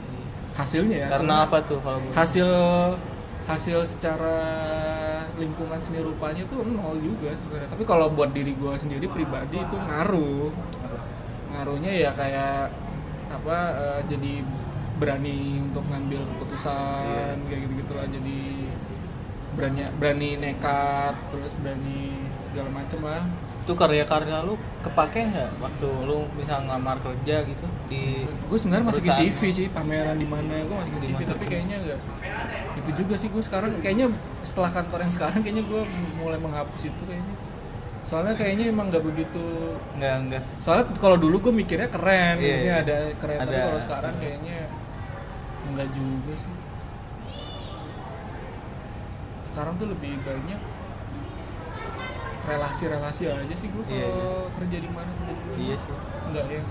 Speaker 1: hasilnya ya
Speaker 2: Karena
Speaker 1: hasilnya.
Speaker 2: apa tuh kalau boleh?
Speaker 1: hasil hasil secara lingkungan seni rupanya tuh nol juga sebenarnya tapi kalau buat diri gue sendiri pribadi itu ngaruh ngaruhnya ya kayak apa eh, jadi berani untuk ngambil keputusan kayak gitu gitulah jadi berani berani nekat terus berani segala macem lah
Speaker 2: Itu karya-karya lu kepake nggak waktu lu bisa ngelamar kerja gitu di
Speaker 1: gue sebenarnya masih ke
Speaker 2: Perusahaan.
Speaker 1: CV sih pameran di mana gue masih ke
Speaker 2: Di
Speaker 1: CV
Speaker 2: masa
Speaker 1: tapi
Speaker 2: kini.
Speaker 1: kayaknya enggak itu juga sih gue sekarang kayaknya setelah kantor yang sekarang kayaknya gue mulai menghapus itu kayaknya soalnya kayaknya emang nggak begitu
Speaker 2: nggak nggak
Speaker 1: soalnya kalau dulu gue mikirnya keren
Speaker 2: Iya,
Speaker 1: maksudnya
Speaker 2: iya.
Speaker 1: ada keren tapi
Speaker 2: Ada.
Speaker 1: kalau sekarang kayaknya enggak juga sih sekarang tuh lebih banyak relasi-relasi aja sih gue kalau
Speaker 2: Iya, iya.
Speaker 1: kerja di mana kerja di mana
Speaker 2: iya sih
Speaker 1: nggak yang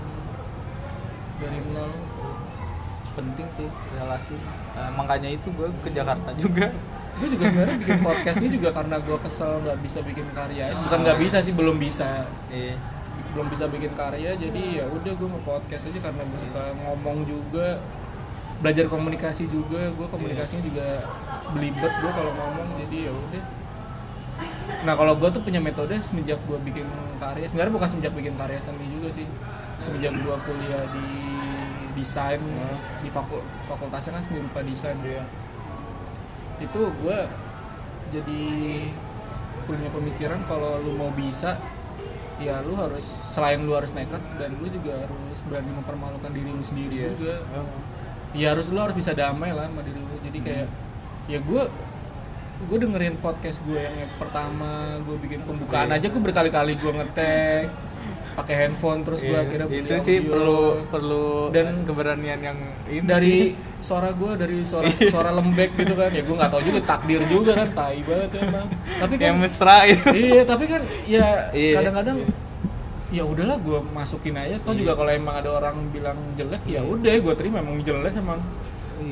Speaker 1: dari nol
Speaker 2: penting sih relasi Eh, makanya itu gue ke Jakarta juga
Speaker 1: gue juga sebenarnya bikin podcast ini juga karena gue kesel nggak bisa bikin karya bukan
Speaker 2: Ah.
Speaker 1: nggak bisa sih belum bisa
Speaker 2: iya
Speaker 1: belum bisa bikin karya jadi ya udah gue mau podcast aja karena gue suka ngomong juga belajar komunikasi juga gue komunikasinya juga belibet gue kalau ngomong jadi ya udah nah kalau gue tuh punya metode semenjak gue bikin karya sebenarnya bukan semenjak bikin karya seni juga sih semenjak gue kuliah di desain di fakul- fakultasnya kan seni rupa desain
Speaker 2: iya
Speaker 1: itu gue jadi punya pemikiran kalau lu mau bisa ya lu harus selain lu harus nekat dan lu juga harus berani mempermalukan diri lu sendiri
Speaker 2: Iya.
Speaker 1: juga
Speaker 2: Oh.
Speaker 1: ya harus lu harus bisa damai lah sama diri lu jadi kayak
Speaker 2: Hmm.
Speaker 1: ya gue gue dengerin podcast gue yang pertama gue bikin pembukaan
Speaker 2: Iya.
Speaker 1: aja gue berkali-kali gue ngetek pakai handphone terus gue
Speaker 2: Iya,
Speaker 1: akhirnya beli
Speaker 2: itu sih
Speaker 1: audio.
Speaker 2: perlu perlu
Speaker 1: Dan-
Speaker 2: keberanian yang ini
Speaker 1: dari
Speaker 2: sih.
Speaker 1: suara gue dari suara suara lembek gitu kan ya gue nggak tahu juga takdir juga kan tai banget emang tapi kan
Speaker 2: yang mesra gitu. itu
Speaker 1: iya tapi kan ya
Speaker 2: Iya,
Speaker 1: kadang-kadang ya udahlah gue masukin aja toh
Speaker 2: Iya.
Speaker 1: juga kalau emang ada orang bilang jelek ya udah gue terima emang jelek emang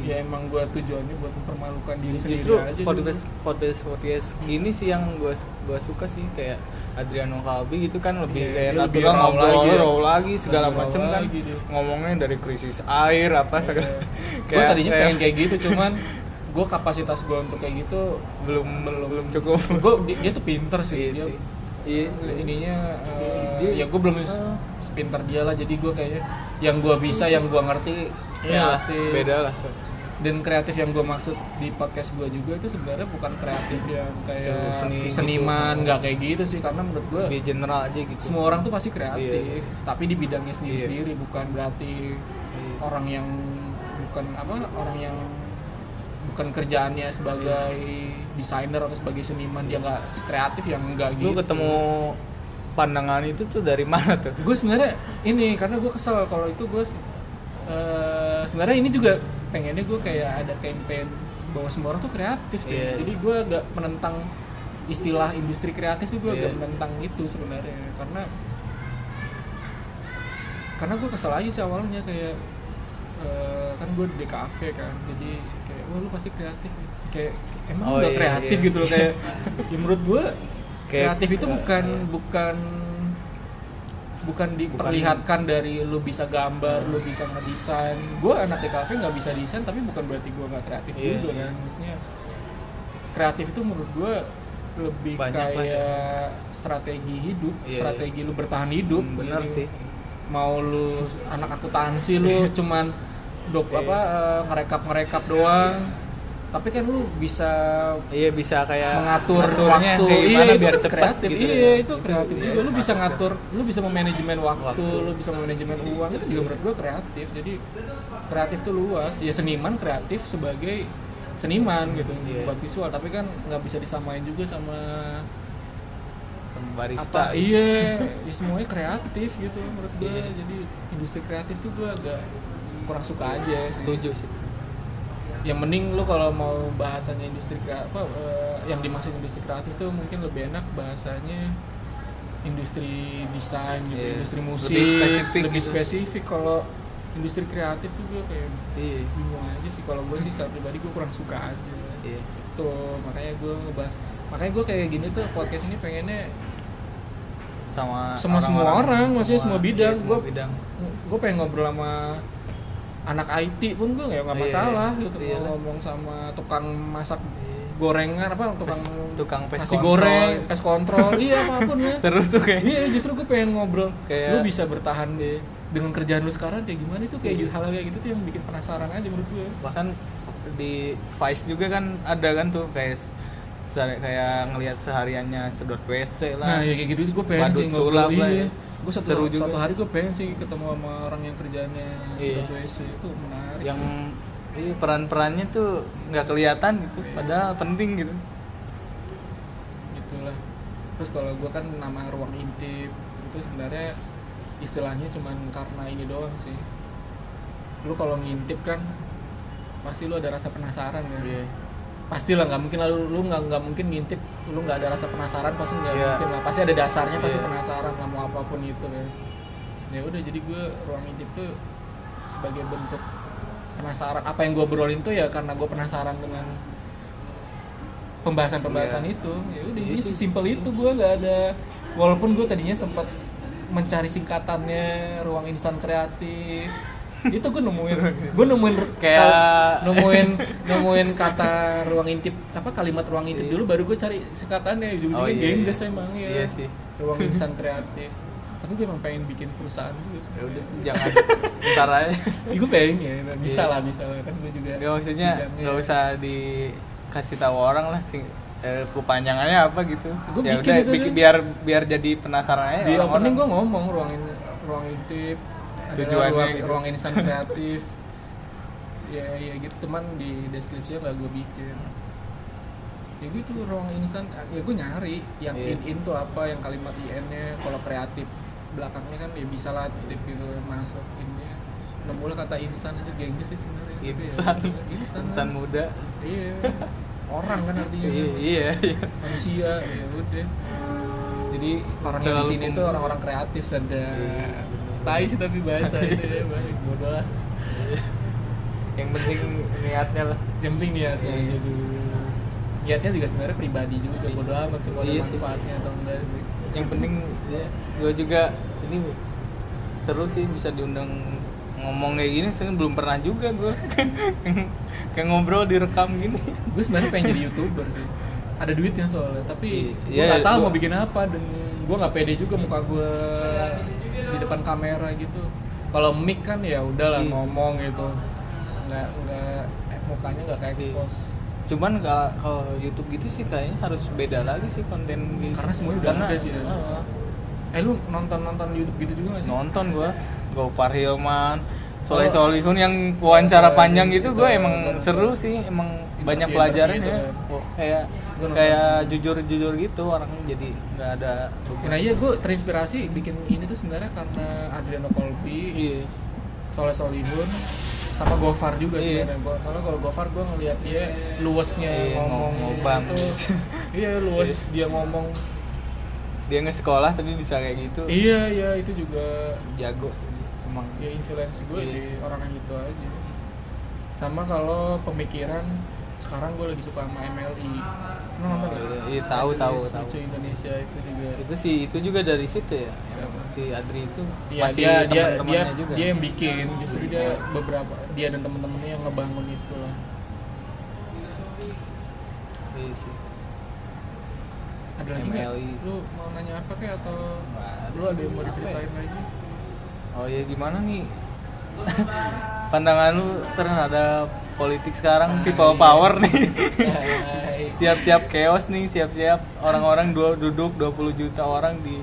Speaker 1: ya emang gue tujuannya buat mempermalukan diri sendiri
Speaker 2: Iya. justru
Speaker 1: aja gitu.
Speaker 2: podcast podcast podcast gini sih yang gue gue suka sih kayak Adriano Kalbi gitu kan lebih
Speaker 1: Iya,
Speaker 2: kayak
Speaker 1: dia lebih
Speaker 2: natural
Speaker 1: raw
Speaker 2: ngobrol
Speaker 1: lagi
Speaker 2: lagi,
Speaker 1: ya.
Speaker 2: lagi segala
Speaker 1: Lebih raw
Speaker 2: macem kan
Speaker 1: lagi dia.
Speaker 2: ngomongnya dari krisis air apa segala
Speaker 1: gue Iya. tadinya pengen kayak gitu cuman gue kapasitas gue untuk kayak gitu
Speaker 2: belum belum belum cukup
Speaker 1: gue dia, dia tuh pinter
Speaker 2: Iya
Speaker 1: sih dia
Speaker 2: sih. Iya.
Speaker 1: ininya eh,
Speaker 2: Dia-
Speaker 1: ya gue belum
Speaker 2: eh.
Speaker 1: sepinter dia lah jadi gue kayaknya yang gue bisa yang gue ngerti
Speaker 2: Ya,
Speaker 1: kreatif
Speaker 2: beda lah.
Speaker 1: dan kreatif yang gue maksud di podcast gue juga itu sebenarnya bukan kreatif yang kayak
Speaker 2: Seni gitu.
Speaker 1: seniman nggak kayak gitu sih karena menurut gue
Speaker 2: Lebih general aja gitu. Iya.
Speaker 1: semua orang tuh pasti kreatif tapi di bidangnya sendiri-sendiri bukan berarti orang yang bukan apa orang yang bukan kerjaannya sebagai
Speaker 2: Iya.
Speaker 1: desainer atau sebagai seniman dia nggak kreatif yang enggak
Speaker 2: Lu
Speaker 1: gitu
Speaker 2: ketemu pandangan itu tuh dari mana tuh?
Speaker 1: gue sebenarnya ini karena gue kesel kalau itu gue eh, sebenarnya ini juga pengennya gue kayak ada campaign bahwa semua orang tuh kreatif cuy.
Speaker 2: Iya.
Speaker 1: jadi gue agak menentang istilah industri kreatif sih gue agak
Speaker 2: Iya.
Speaker 1: menentang itu sebenarnya karena karena gue kesel aja sih awalnya kayak eh, kan gue di kafe kan jadi kayak wah lu pasti kreatif ya." kayak emang
Speaker 2: Oh,
Speaker 1: nggak
Speaker 2: iya,
Speaker 1: kreatif
Speaker 2: iya.
Speaker 1: gitu loh kayak ya menurut gue
Speaker 2: Kayak-
Speaker 1: kreatif itu
Speaker 2: iya,
Speaker 1: bukan
Speaker 2: iya.
Speaker 1: bukan bukan diperlihatkan dari lu bisa gambar lu bisa ngedesain gue anak di kafe nggak bisa desain tapi bukan berarti gue nggak kreatif
Speaker 2: Iya,
Speaker 1: juga
Speaker 2: iya.
Speaker 1: kan maksudnya kreatif itu menurut gue lebih
Speaker 2: Banyak lah, ya.
Speaker 1: kayak strategi hidup
Speaker 2: Iya,
Speaker 1: strategi lu bertahan hidup
Speaker 2: Hmm, bener
Speaker 1: Jadi,
Speaker 2: sih.
Speaker 1: mau lu anak akuntansi lu cuman dok
Speaker 2: Iya.
Speaker 1: apa eh, ngerekap ngerekap doang tapi kan lu bisa
Speaker 2: Iya bisa kayak
Speaker 1: mengatur
Speaker 2: ngaturnya
Speaker 1: waktu
Speaker 2: kayak
Speaker 1: iya
Speaker 2: gimana
Speaker 1: itu
Speaker 2: biar
Speaker 1: kan
Speaker 2: cepat
Speaker 1: kreatif
Speaker 2: gitu.
Speaker 1: iya itu kreatif
Speaker 2: iya,
Speaker 1: juga lu bisa
Speaker 2: masuk deh.
Speaker 1: ngatur lu bisa memanajemen waktu,
Speaker 2: Waktu.
Speaker 1: lu bisa memanajemen uang itu juga menurut gua kreatif jadi kreatif tuh luas ya seniman kreatif sebagai seniman gitu
Speaker 2: Iya.
Speaker 1: buat visual tapi kan nggak bisa disamain juga sama
Speaker 2: Sama
Speaker 1: apa
Speaker 2: barista. gitu.
Speaker 1: iya ya semuanya kreatif gitu menurut gua
Speaker 2: Iya.
Speaker 1: jadi industri kreatif tuh gua agak kurang suka aja sih
Speaker 2: Setuju sih.
Speaker 1: yang mending lu kalau mau bahasanya industri kreatif apa eh, yang dimaksud industri kreatif tuh mungkin lebih enak bahasanya industri desain gitu
Speaker 2: Iya.
Speaker 1: industri
Speaker 2: Lebih
Speaker 1: musik
Speaker 2: spesifik
Speaker 1: lebih
Speaker 2: gitu.
Speaker 1: spesifik kalau industri kreatif tuh gue kayak
Speaker 2: Iya.
Speaker 1: bingung aja sih kalau gue sih secara pribadi gue kurang suka aja
Speaker 2: Iya.
Speaker 1: tuh makanya gue ngebahas makanya gue kayak gini tuh podcast ini pengennya
Speaker 2: Sama
Speaker 1: Sama semua orang, maksudnya semua bidang.
Speaker 2: iya, semua
Speaker 1: Gua-
Speaker 2: bidang.
Speaker 1: gue pengen ngobrol sama anak IT pun gue nggak nggak
Speaker 2: Iya,
Speaker 1: masalah
Speaker 2: iya.
Speaker 1: gitu
Speaker 2: Iyalah.
Speaker 1: mau ngomong sama tukang masak gorengan apa tukang
Speaker 2: Pes- tukang pes
Speaker 1: nasi
Speaker 2: kontrol.
Speaker 1: goreng pes kontrol iya apapun ya
Speaker 2: Seru tuh kayaknya.
Speaker 1: iya justru gue pengen ngobrol
Speaker 2: Kayak-
Speaker 1: lu bisa bertahan deh dengan kerjaan lu sekarang kayak gimana itu kayak
Speaker 2: Iya.
Speaker 1: hal hal kayak gitu tuh yang bikin penasaran aja menurut gue
Speaker 2: bahkan di Vice juga kan ada kan tuh kayak se- se- kayak ngelihat sehariannya sedot WC Iya lah.
Speaker 1: nah ya kayak gitu sih gue pengen
Speaker 2: Badut
Speaker 1: sih
Speaker 2: sulap lah ya.
Speaker 1: gue satu,
Speaker 2: Seru juga
Speaker 1: satu
Speaker 2: sih.
Speaker 1: hari gue pengen sih ketemu sama orang yang kerjaannya sudah
Speaker 2: Iya.
Speaker 1: WC itu menarik
Speaker 2: Yang iya, peran-perannya tuh nggak kelihatan gitu, padahal penting gitu.
Speaker 1: gitulah terus kalau gue kan nama ruang intip itu sebenarnya istilahnya cuman karena ini doang sih lu kalau ngintip kan pasti lu ada rasa penasaran kan
Speaker 2: Iya.
Speaker 1: pasti lah nggak mungkin lah lu lu nggak nggak mungkin ngintip lu nggak ada rasa penasaran pasti nggak
Speaker 2: Iya.
Speaker 1: mungkin lah pasti ada dasarnya pasti
Speaker 2: Iya.
Speaker 1: penasaran lah mau apapun itu ya ya udah jadi gue ruang intip tuh sebagai bentuk penasaran apa yang gue berolin tuh ya karena gue penasaran dengan pembahasan-pembahasan
Speaker 2: Iya.
Speaker 1: itu ya udah
Speaker 2: Iya
Speaker 1: jadi
Speaker 2: sih.
Speaker 1: sesimpel itu gue nggak ada walaupun gue tadinya sempat mencari singkatannya ruang insan kreatif itu gue nemuin gue nemuin
Speaker 2: Kayak-
Speaker 1: kal- nemuin nemuin kata ruang intip apa kalimat ruang intip
Speaker 2: Iya.
Speaker 1: dulu baru gue cari singkatannya ujung-ujungnya
Speaker 2: Oh, iya,
Speaker 1: gengges
Speaker 2: iya.
Speaker 1: emang ya
Speaker 2: Iya sih.
Speaker 1: ruang insan kreatif tapi gue emang pengen bikin perusahaan dulu
Speaker 2: Ya udah sih jangan ntar aja.
Speaker 1: gue pengen ya bisa
Speaker 2: Iya.
Speaker 1: lah bisa lah kan gue juga
Speaker 2: Nggak, maksudnya
Speaker 1: bidangnya.
Speaker 2: nggak usah dikasih tahu orang lah sing eh, kepanjangannya apa gitu.
Speaker 1: Gua
Speaker 2: ya
Speaker 1: bikin
Speaker 2: udah
Speaker 1: itu
Speaker 2: bikin
Speaker 1: deh.
Speaker 2: biar biar jadi penasaran aja
Speaker 1: di
Speaker 2: Iya, orang-orang.
Speaker 1: opening gue ngomong ruang in- ruang intip adalah
Speaker 2: Tujuannya
Speaker 1: ruang,
Speaker 2: gitu.
Speaker 1: ruang insan kreatif ya ya gitu cuman di deskripsinya nggak gue bikin ya gitu ruang insan ya gue nyari yang
Speaker 2: Iya.
Speaker 1: in in tuh apa yang kalimat in nya kalau kreatif belakangnya kan ya bisa lah tip gitu yang masuk innya nemulah kata insan itu gengges sih sebenarnya Tapi ya,
Speaker 2: insan
Speaker 1: insan,
Speaker 2: insan muda
Speaker 1: iya orang kan artinya
Speaker 2: iya
Speaker 1: kan
Speaker 2: iya iya.
Speaker 1: manusia ya udah jadi orang yang di
Speaker 2: Terlalu
Speaker 1: sini
Speaker 2: pem-
Speaker 1: tuh orang-orang kreatif sada
Speaker 2: Iya.
Speaker 1: tai sih tapi bahasa itu ya baik bodoh lah
Speaker 2: yang penting niatnya lah
Speaker 1: yang penting niatnya
Speaker 2: Iya.
Speaker 1: gitu niatnya juga sebenarnya pribadi juga bodoh amat semua ada
Speaker 2: Iya sih.
Speaker 1: manfaatnya atau enggak
Speaker 2: yang penting
Speaker 1: ya
Speaker 2: gue juga ini seru sih bisa diundang ngomong kayak gini sih belum pernah juga gue kayak ngobrol direkam gini
Speaker 1: gue sebenarnya pengen jadi youtuber sih ada duitnya soalnya tapi gue
Speaker 2: Iya,
Speaker 1: nggak tahu
Speaker 2: gua-
Speaker 1: mau bikin apa dan gue nggak pede juga muka gue di depan kamera gitu kalau mic kan ya udahlah
Speaker 2: Iya.
Speaker 1: ngomong gitu nggak nggak eh, mukanya nggak kayak
Speaker 2: Iya.
Speaker 1: expose
Speaker 2: cuman kalau kalau YouTube gitu sih kayaknya harus beda lagi sih konten gitu.
Speaker 1: Karena semuanya udah ada sih ya.
Speaker 2: Heeh.
Speaker 1: eh lu nonton nonton YouTube gitu juga nggak sih
Speaker 2: nonton gue Gopar Hilman Soleh
Speaker 1: Oh.
Speaker 2: Solihun yang wawancara
Speaker 1: Soleh
Speaker 2: panjang
Speaker 1: Solihun
Speaker 2: gitu
Speaker 1: itu
Speaker 2: gue emang
Speaker 1: nonton.
Speaker 2: seru sih emang
Speaker 1: Interview-
Speaker 2: banyak pelajaran
Speaker 1: interview
Speaker 2: ya
Speaker 1: itu ya.
Speaker 2: Oh, kayak
Speaker 1: Gua nonton
Speaker 2: kayak jujur jujur gitu orang jadi nggak ada beban.
Speaker 1: nah iya gue terinspirasi bikin ini tuh sebenarnya karena Adriano Colby
Speaker 2: iya
Speaker 1: Soleh Solihun sama Gofar juga
Speaker 2: Iya.
Speaker 1: sebenarnya Gua- soalnya kalau Gofar gue ngeliat dia luwesnya
Speaker 2: Iya,
Speaker 1: ngomong
Speaker 2: ngobam.
Speaker 1: gitu. iya luwes dia ngomong
Speaker 2: dia nggak sekolah tapi bisa kayak gitu
Speaker 1: Iya, iya itu juga
Speaker 2: jago sih emang
Speaker 1: ya influence gue
Speaker 2: Iya.
Speaker 1: di orang yang itu aja. Sama kalau pemikiran sekarang gue lagi suka sama MLI. Lu nonton
Speaker 2: Oh,
Speaker 1: nggak?
Speaker 2: iya, iya, tahu,
Speaker 1: Majelis
Speaker 2: tahu, tahu.
Speaker 1: Lucu Indonesia itu juga.
Speaker 2: itu sih itu juga dari situ ya
Speaker 1: Siapa?
Speaker 2: si Adri itu
Speaker 1: Iya,
Speaker 2: masih
Speaker 1: dia dia dia,
Speaker 2: teman-temannya juga
Speaker 1: dia yang bikin justru dia beberapa dia dan temen-temennya yang ngebangun itu lah.
Speaker 2: Iya sih.
Speaker 1: Ada lagi nggak?
Speaker 2: MLI.
Speaker 1: Lu mau nanya apa kek atau
Speaker 2: Nggak ada
Speaker 1: lu
Speaker 2: sih,
Speaker 1: ada yang mau
Speaker 2: apa ya?
Speaker 1: diceritain lagi?
Speaker 2: oh ya gimana nih pandangan lu terhadap politik
Speaker 1: Ah,
Speaker 2: sekarang people
Speaker 1: iya.
Speaker 2: power nih
Speaker 1: Hai.
Speaker 2: siap-siap chaos nih siap-siap orang-orang dua duduk 20 juta orang di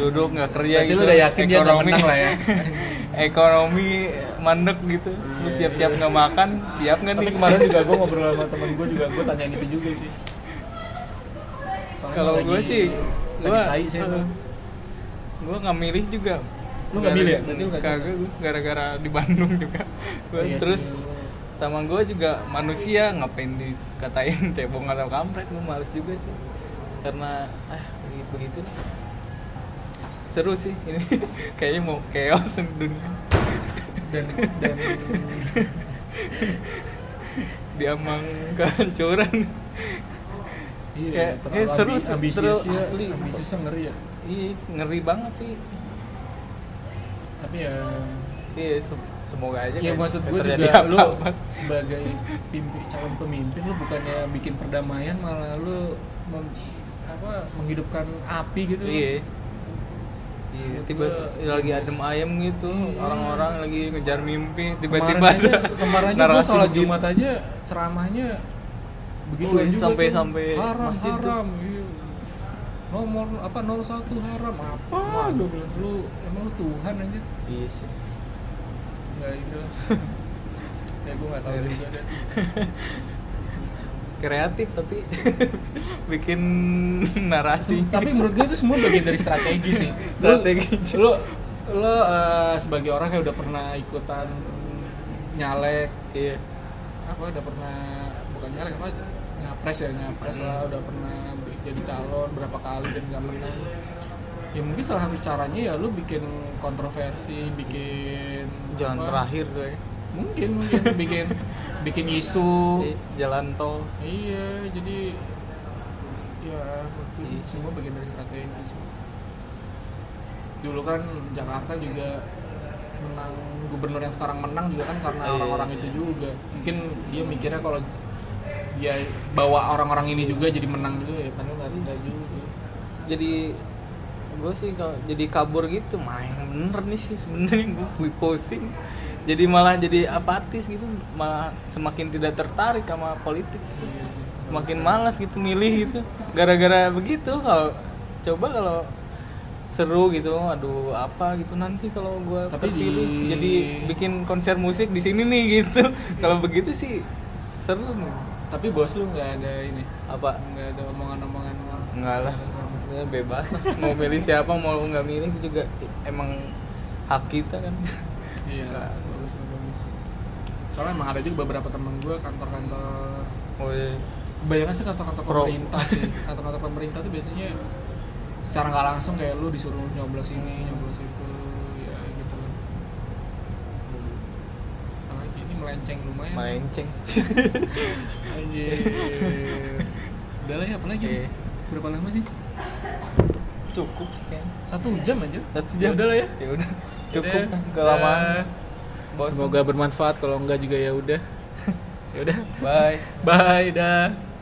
Speaker 2: duduk nggak kerja
Speaker 1: Berarti
Speaker 2: gitu
Speaker 1: lu udah yakin dia nggak menang lah ya.
Speaker 2: ekonomi mandek gitu lu
Speaker 1: Iya,
Speaker 2: siap-siap nggak makan siap nggak
Speaker 1: Tapi
Speaker 2: nih
Speaker 1: kemarin juga gue ngobrol sama temen gue juga gue tanyain itu juga sih. Soalnya
Speaker 2: Kalau
Speaker 1: lagi-
Speaker 2: gua sih,
Speaker 1: lagi
Speaker 2: gua-
Speaker 1: tai sih emang.
Speaker 2: gue nggak milih juga
Speaker 1: Lu nggak milih ya? Berarti
Speaker 2: Berarti
Speaker 1: lu nggak
Speaker 2: kagak
Speaker 1: jelas.
Speaker 2: gua gara-gara di Bandung juga Gua
Speaker 1: Iya sih,
Speaker 2: terus
Speaker 1: gua-
Speaker 2: sama gue juga manusia ngapain dikatain cebong atau kampret gue males juga sih karena ah begitu begitu seru sih ini kayaknya mau chaos dunia
Speaker 1: dan dan
Speaker 2: diambang kehancuran
Speaker 1: Iya,
Speaker 2: Kayak-
Speaker 1: terlalu
Speaker 2: kayak seru
Speaker 1: ambi-
Speaker 2: sih,
Speaker 1: ambisius
Speaker 2: terlalu
Speaker 1: ya,
Speaker 2: asli.
Speaker 1: ambisiusnya ngeri ya.
Speaker 2: iya ngeri banget sih
Speaker 1: Tapi ya
Speaker 2: iya se- semoga aja
Speaker 1: Ya
Speaker 2: kayak-
Speaker 1: maksud
Speaker 2: kayak
Speaker 1: gue
Speaker 2: terjadi
Speaker 1: juga lu
Speaker 2: apa-apa. Iya,
Speaker 1: sebagai pimpi, calon pemimpin lu bukannya bikin perdamaian malah lu mem- apa menghidupkan api gitu.
Speaker 2: iya iya tiba lagi adem ayem gitu orang-orang lagi ngejar mimpi
Speaker 1: Iya. Kemarin
Speaker 2: tiba-tiba
Speaker 1: aja,
Speaker 2: ada
Speaker 1: kemarin aja gua
Speaker 2: narasi gitu.
Speaker 1: sholat
Speaker 2: begitu.
Speaker 1: Jumat aja ceramahnya begitu
Speaker 2: Wih,
Speaker 1: juga
Speaker 2: sampai-
Speaker 1: tuh.
Speaker 2: sampai
Speaker 1: haram
Speaker 2: masjid tuh.
Speaker 1: haram iya. nomor apa 01 haram apa gua bilang lu emang lu Tuhan aja
Speaker 2: iya sih
Speaker 1: nggak gitu ya gue nggak
Speaker 2: Iya.
Speaker 1: tahu juga deh.
Speaker 2: kreatif tapi bikin narasi
Speaker 1: tapi menurut gue itu semua bagian dari strategi sih Lu-
Speaker 2: strategi
Speaker 1: lo lo eh, sebagai orang yang udah pernah ikutan nyalek
Speaker 2: iya
Speaker 1: apa udah pernah bukan nyalek apa nyapres ya nyapres lah udah pernah be- jadi calon berapa kali dan nggak menang ya mungkin salah satu caranya ya lu bikin kontroversi bikin
Speaker 2: jalan
Speaker 1: apa,
Speaker 2: terakhir tuh ya
Speaker 1: mungkin mungkin bikin bikin isu
Speaker 2: Iya, jalan tol
Speaker 1: iya jadi ya
Speaker 2: Iya
Speaker 1: mungkin semua bagian dari strategi sih dulu kan Jakarta juga menang gubernur yang sekarang menang juga kan karena
Speaker 2: Iya.
Speaker 1: orang-orang itu juga mungkin dia mikirnya kalau dia bawa orang-orang
Speaker 2: Iya.
Speaker 1: ini juga jadi menang juga ya padahal nggak nggak juga
Speaker 2: jadi gue sih kalau jadi kabur gitu main bener nih sih sebenarnya gue posting jadi malah jadi apatis gitu malah semakin tidak tertarik sama politik tuh.
Speaker 1: Iya,
Speaker 2: makin malas gitu milih gitu gara-gara begitu kalau coba kalau seru gitu aduh apa gitu nanti kalau gue
Speaker 1: Tapi
Speaker 2: terpilih
Speaker 1: di- Iya.
Speaker 2: jadi bikin konser musik di sini nih gitu kalau begitu sih seru nih
Speaker 1: tapi bos lu nggak ada ini
Speaker 2: apa
Speaker 1: nggak ada omongan-omongan
Speaker 2: Enggak lah,
Speaker 1: Nggak ada
Speaker 2: sebenarnya bebas lah. mau milih siapa mau nggak milih itu juga emang hak kita kan.
Speaker 1: iya
Speaker 2: Nggak.
Speaker 1: bagus bagus soalnya emang ada juga beberapa temen gue kantor-kantor
Speaker 2: Oh, iya.
Speaker 1: Kebanyakan sih kantor-kantor
Speaker 2: Pro.
Speaker 1: pemerintah sih. Kantor-kantor pemerintah tuh biasanya secara nggak langsung kayak lu disuruh nyoblos ini, nyoblos itu, ya gitu. Apalagi ini melenceng lumayan.
Speaker 2: melenceng.
Speaker 1: Anjir. Udah lah ya, apalagi?
Speaker 2: Oke.
Speaker 1: Berapa lama sih?
Speaker 2: Cukup sih kayaknya.
Speaker 1: Satu jam aja.
Speaker 2: Satu jam.
Speaker 1: Udah lah ya.
Speaker 2: Ya udah. Cukup
Speaker 1: Udah.
Speaker 2: kan kelamaan. Bosen.
Speaker 1: Semoga bermanfaat kalau enggak juga ya udah. Ya udah.
Speaker 2: Bye.
Speaker 1: Bye dah.